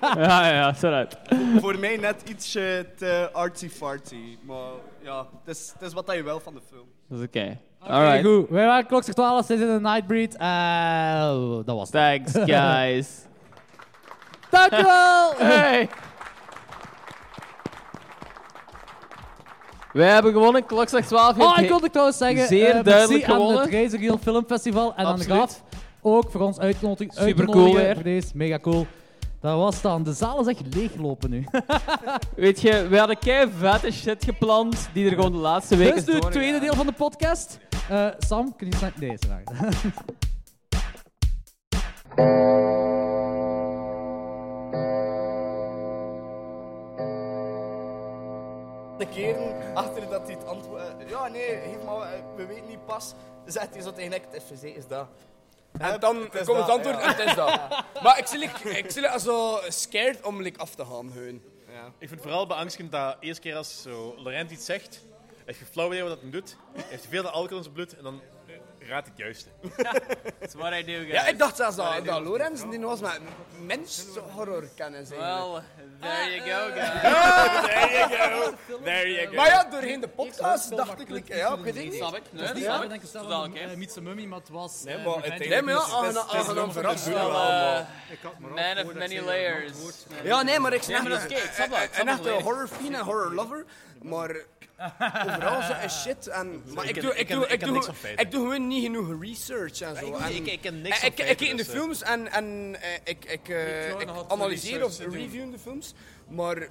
[SPEAKER 9] ja, ja, ja, sorry.
[SPEAKER 14] Voor- voor mij net ietsje te artsy-fartsy. Maar ja, het is, het is wat hij wel van de film.
[SPEAKER 9] Dat is oké.
[SPEAKER 2] Oké,
[SPEAKER 9] Alright.
[SPEAKER 2] goed. We waren klokslag 12, dit is een Nightbreed. Eh, dat was het.
[SPEAKER 9] Thanks, guys.
[SPEAKER 2] Dankjewel!
[SPEAKER 9] Hey! Wij hebben gewonnen. Klokslag 12 heeft
[SPEAKER 2] Oh, ik
[SPEAKER 9] he-
[SPEAKER 2] wilde trouwens zeggen,
[SPEAKER 9] zeer
[SPEAKER 2] eh, merci
[SPEAKER 9] duidelijk gewonnen.
[SPEAKER 2] aan het Razor Reel Filmfestival en
[SPEAKER 9] Absoluut.
[SPEAKER 2] aan Gaaf. Ook voor ons uitnodiging.
[SPEAKER 9] Supercool weer.
[SPEAKER 2] Voor deze, mega cool. Dat was dan. De zaal is echt leeglopen nu.
[SPEAKER 9] Weet je, we hadden kei vette shit gepland die er gewoon de laatste week
[SPEAKER 2] dus nu het tweede deel van de podcast. Eh, Sam, kun je snel deze vragen?
[SPEAKER 14] De keren achter dat hij het antwoord... eh, Ja, nee, geef maar, eh, we weten niet pas. Zegt hij zo tegen ik, het FVC is dat.
[SPEAKER 7] En dan
[SPEAKER 14] is
[SPEAKER 7] komt het
[SPEAKER 14] dat,
[SPEAKER 7] antwoord
[SPEAKER 14] ja.
[SPEAKER 7] en het is dat. Maar ik zit like- ik zit like zo scared om like af te gaan. Hun.
[SPEAKER 14] Ik
[SPEAKER 3] vind het vooral beangstigend dat eerste keer als zo Laurent iets zegt, heeft je flauw idee wat dat hem doet, heeft hij veel de alcohol in zijn bloed en dan eh, raadt het juiste.
[SPEAKER 1] That's what I do, guys.
[SPEAKER 7] Ja, ik dacht zelfs dat, dat Lorenz die was met mensen horror kennen zijn.
[SPEAKER 1] Well, there you go, guys.
[SPEAKER 7] there you go. There you
[SPEAKER 1] go.
[SPEAKER 7] Maar ja, doorheen de podcast dacht ik, like, ja, ik weet het niet.
[SPEAKER 1] Snap ik. Nee,
[SPEAKER 7] Dat is niet
[SPEAKER 1] snap
[SPEAKER 7] waar.
[SPEAKER 1] ik. denk zelf aan een
[SPEAKER 2] Mietse Mummy, maar het was...
[SPEAKER 7] Nee, maar het- nee, maar ja, aangena- aangenaam verrast.
[SPEAKER 1] Wel,
[SPEAKER 7] wel,
[SPEAKER 1] eh,
[SPEAKER 7] maar-
[SPEAKER 1] Man of many layers.
[SPEAKER 7] Ja, nee, maar ik snap
[SPEAKER 1] Nee, maar dat is oké, ik snap dat, ik
[SPEAKER 7] het.
[SPEAKER 1] snap
[SPEAKER 7] En
[SPEAKER 1] dat
[SPEAKER 7] echt een
[SPEAKER 1] volledig.
[SPEAKER 7] horrorfien en horrorlover, maar overal zo is shit. En, maar
[SPEAKER 3] Ik
[SPEAKER 7] ik
[SPEAKER 3] ken-
[SPEAKER 7] doe,
[SPEAKER 3] ik
[SPEAKER 7] ik
[SPEAKER 3] ken-
[SPEAKER 7] doe,
[SPEAKER 3] ik
[SPEAKER 7] ik
[SPEAKER 3] ken
[SPEAKER 7] doe,
[SPEAKER 3] niks van feiten.
[SPEAKER 7] ik doe gewoon niet genoeg research en zo.
[SPEAKER 3] ik-
[SPEAKER 7] En-
[SPEAKER 3] ik ken niks
[SPEAKER 7] en
[SPEAKER 3] van
[SPEAKER 7] ik-
[SPEAKER 3] feiten,
[SPEAKER 7] Ik kijk in de
[SPEAKER 3] dus, eh.
[SPEAKER 7] films en, en eh, ik, ik, eh,
[SPEAKER 3] Ik
[SPEAKER 7] ik
[SPEAKER 3] nog wat
[SPEAKER 7] analyseer of
[SPEAKER 3] research te doen.
[SPEAKER 7] review de films, maar eh,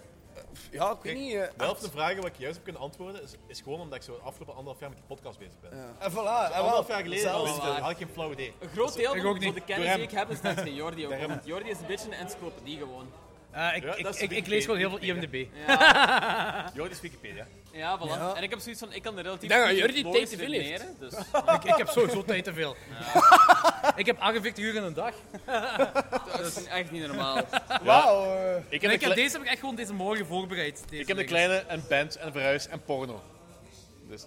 [SPEAKER 7] ja, ik weet niet. eh,
[SPEAKER 3] De helft van de vragen waar ik juist op kunnen antwoorden is, is gewoon omdat ik zo de afgelopen anderhalf jaar met die podcast bezig ben. Dus
[SPEAKER 7] En voilà, en wel,
[SPEAKER 3] anderhalf jaar geleden
[SPEAKER 7] zelfs.
[SPEAKER 3] had ik- had ik geen flauw idee.
[SPEAKER 1] Een groot deel
[SPEAKER 3] Ik
[SPEAKER 1] van,
[SPEAKER 3] ook
[SPEAKER 1] van
[SPEAKER 3] niet.
[SPEAKER 1] de
[SPEAKER 3] Door
[SPEAKER 1] kennis
[SPEAKER 3] hem.
[SPEAKER 1] die ik heb is dankzij Jordi ook. Want Jordi is een beetje een encyclopedie gewoon. Eh,
[SPEAKER 3] ik- Ja, ik- dat is ik- ik lees gewoon heel veel Wikipedia. IMDb.
[SPEAKER 1] Ja.
[SPEAKER 3] Jordi is Wikipedia.
[SPEAKER 1] Ja, voilà.
[SPEAKER 3] Ja.
[SPEAKER 1] En ik heb zoiets van, ik kan er relatief
[SPEAKER 3] Ik denk dat
[SPEAKER 1] goed
[SPEAKER 3] Jordi
[SPEAKER 1] logisch
[SPEAKER 3] tijd te veel heeft.
[SPEAKER 1] redeneren, Dus.
[SPEAKER 3] Ik- ik heb sowieso tijd te veel.
[SPEAKER 1] ik heb 48 uur in een dag. dat is echt niet normaal.
[SPEAKER 3] Wauw, eh. Ik heb
[SPEAKER 1] Ik
[SPEAKER 3] een
[SPEAKER 1] heb, ik heb
[SPEAKER 3] kle-
[SPEAKER 1] deze heb ik echt gewoon deze morgen voorbereid. Deze
[SPEAKER 3] Ik heb een
[SPEAKER 1] dinges.
[SPEAKER 3] kleine, en band, en verhuis, en porno. Dus.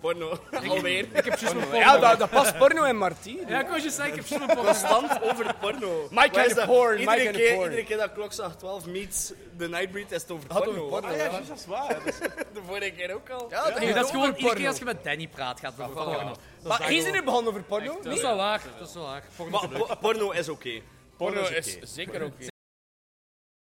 [SPEAKER 7] porno.
[SPEAKER 1] Ik- Mm, Alweer. ik heb juist mijn porno.
[SPEAKER 7] Ja, dat, dat past porno en Marti.
[SPEAKER 1] Ja, ik wou juist zeggen, ik heb juist mijn porno.
[SPEAKER 14] Constant over porno.
[SPEAKER 7] Mike
[SPEAKER 14] Waar
[SPEAKER 7] and
[SPEAKER 14] is dat?
[SPEAKER 7] porn,
[SPEAKER 14] Iedere,
[SPEAKER 7] Mike and
[SPEAKER 14] keer,
[SPEAKER 7] porn.
[SPEAKER 14] iedere keer dat klokslag 12 meets The Nightbreed is het over
[SPEAKER 7] Had
[SPEAKER 14] porno.
[SPEAKER 7] over porno,
[SPEAKER 14] Ah ja,
[SPEAKER 7] ja.
[SPEAKER 14] juist, dat is waar. Dat is- De vorige keer ook al.
[SPEAKER 1] Ja, dat,
[SPEAKER 7] ging
[SPEAKER 1] dat is
[SPEAKER 7] ook
[SPEAKER 1] gewoon
[SPEAKER 7] over
[SPEAKER 1] iedere
[SPEAKER 7] porno.
[SPEAKER 1] keer als je met Danny praat, gaat het over
[SPEAKER 7] Ja, Ah, voilà.
[SPEAKER 1] porno.
[SPEAKER 7] Maar hij is er nu begonnen over porno?
[SPEAKER 1] Dat is wel waar, dat is wel waar. Porno
[SPEAKER 14] eh, Maar
[SPEAKER 1] is leuk.
[SPEAKER 14] po- porno is oké.
[SPEAKER 1] Porno is oké.
[SPEAKER 7] zeker oké.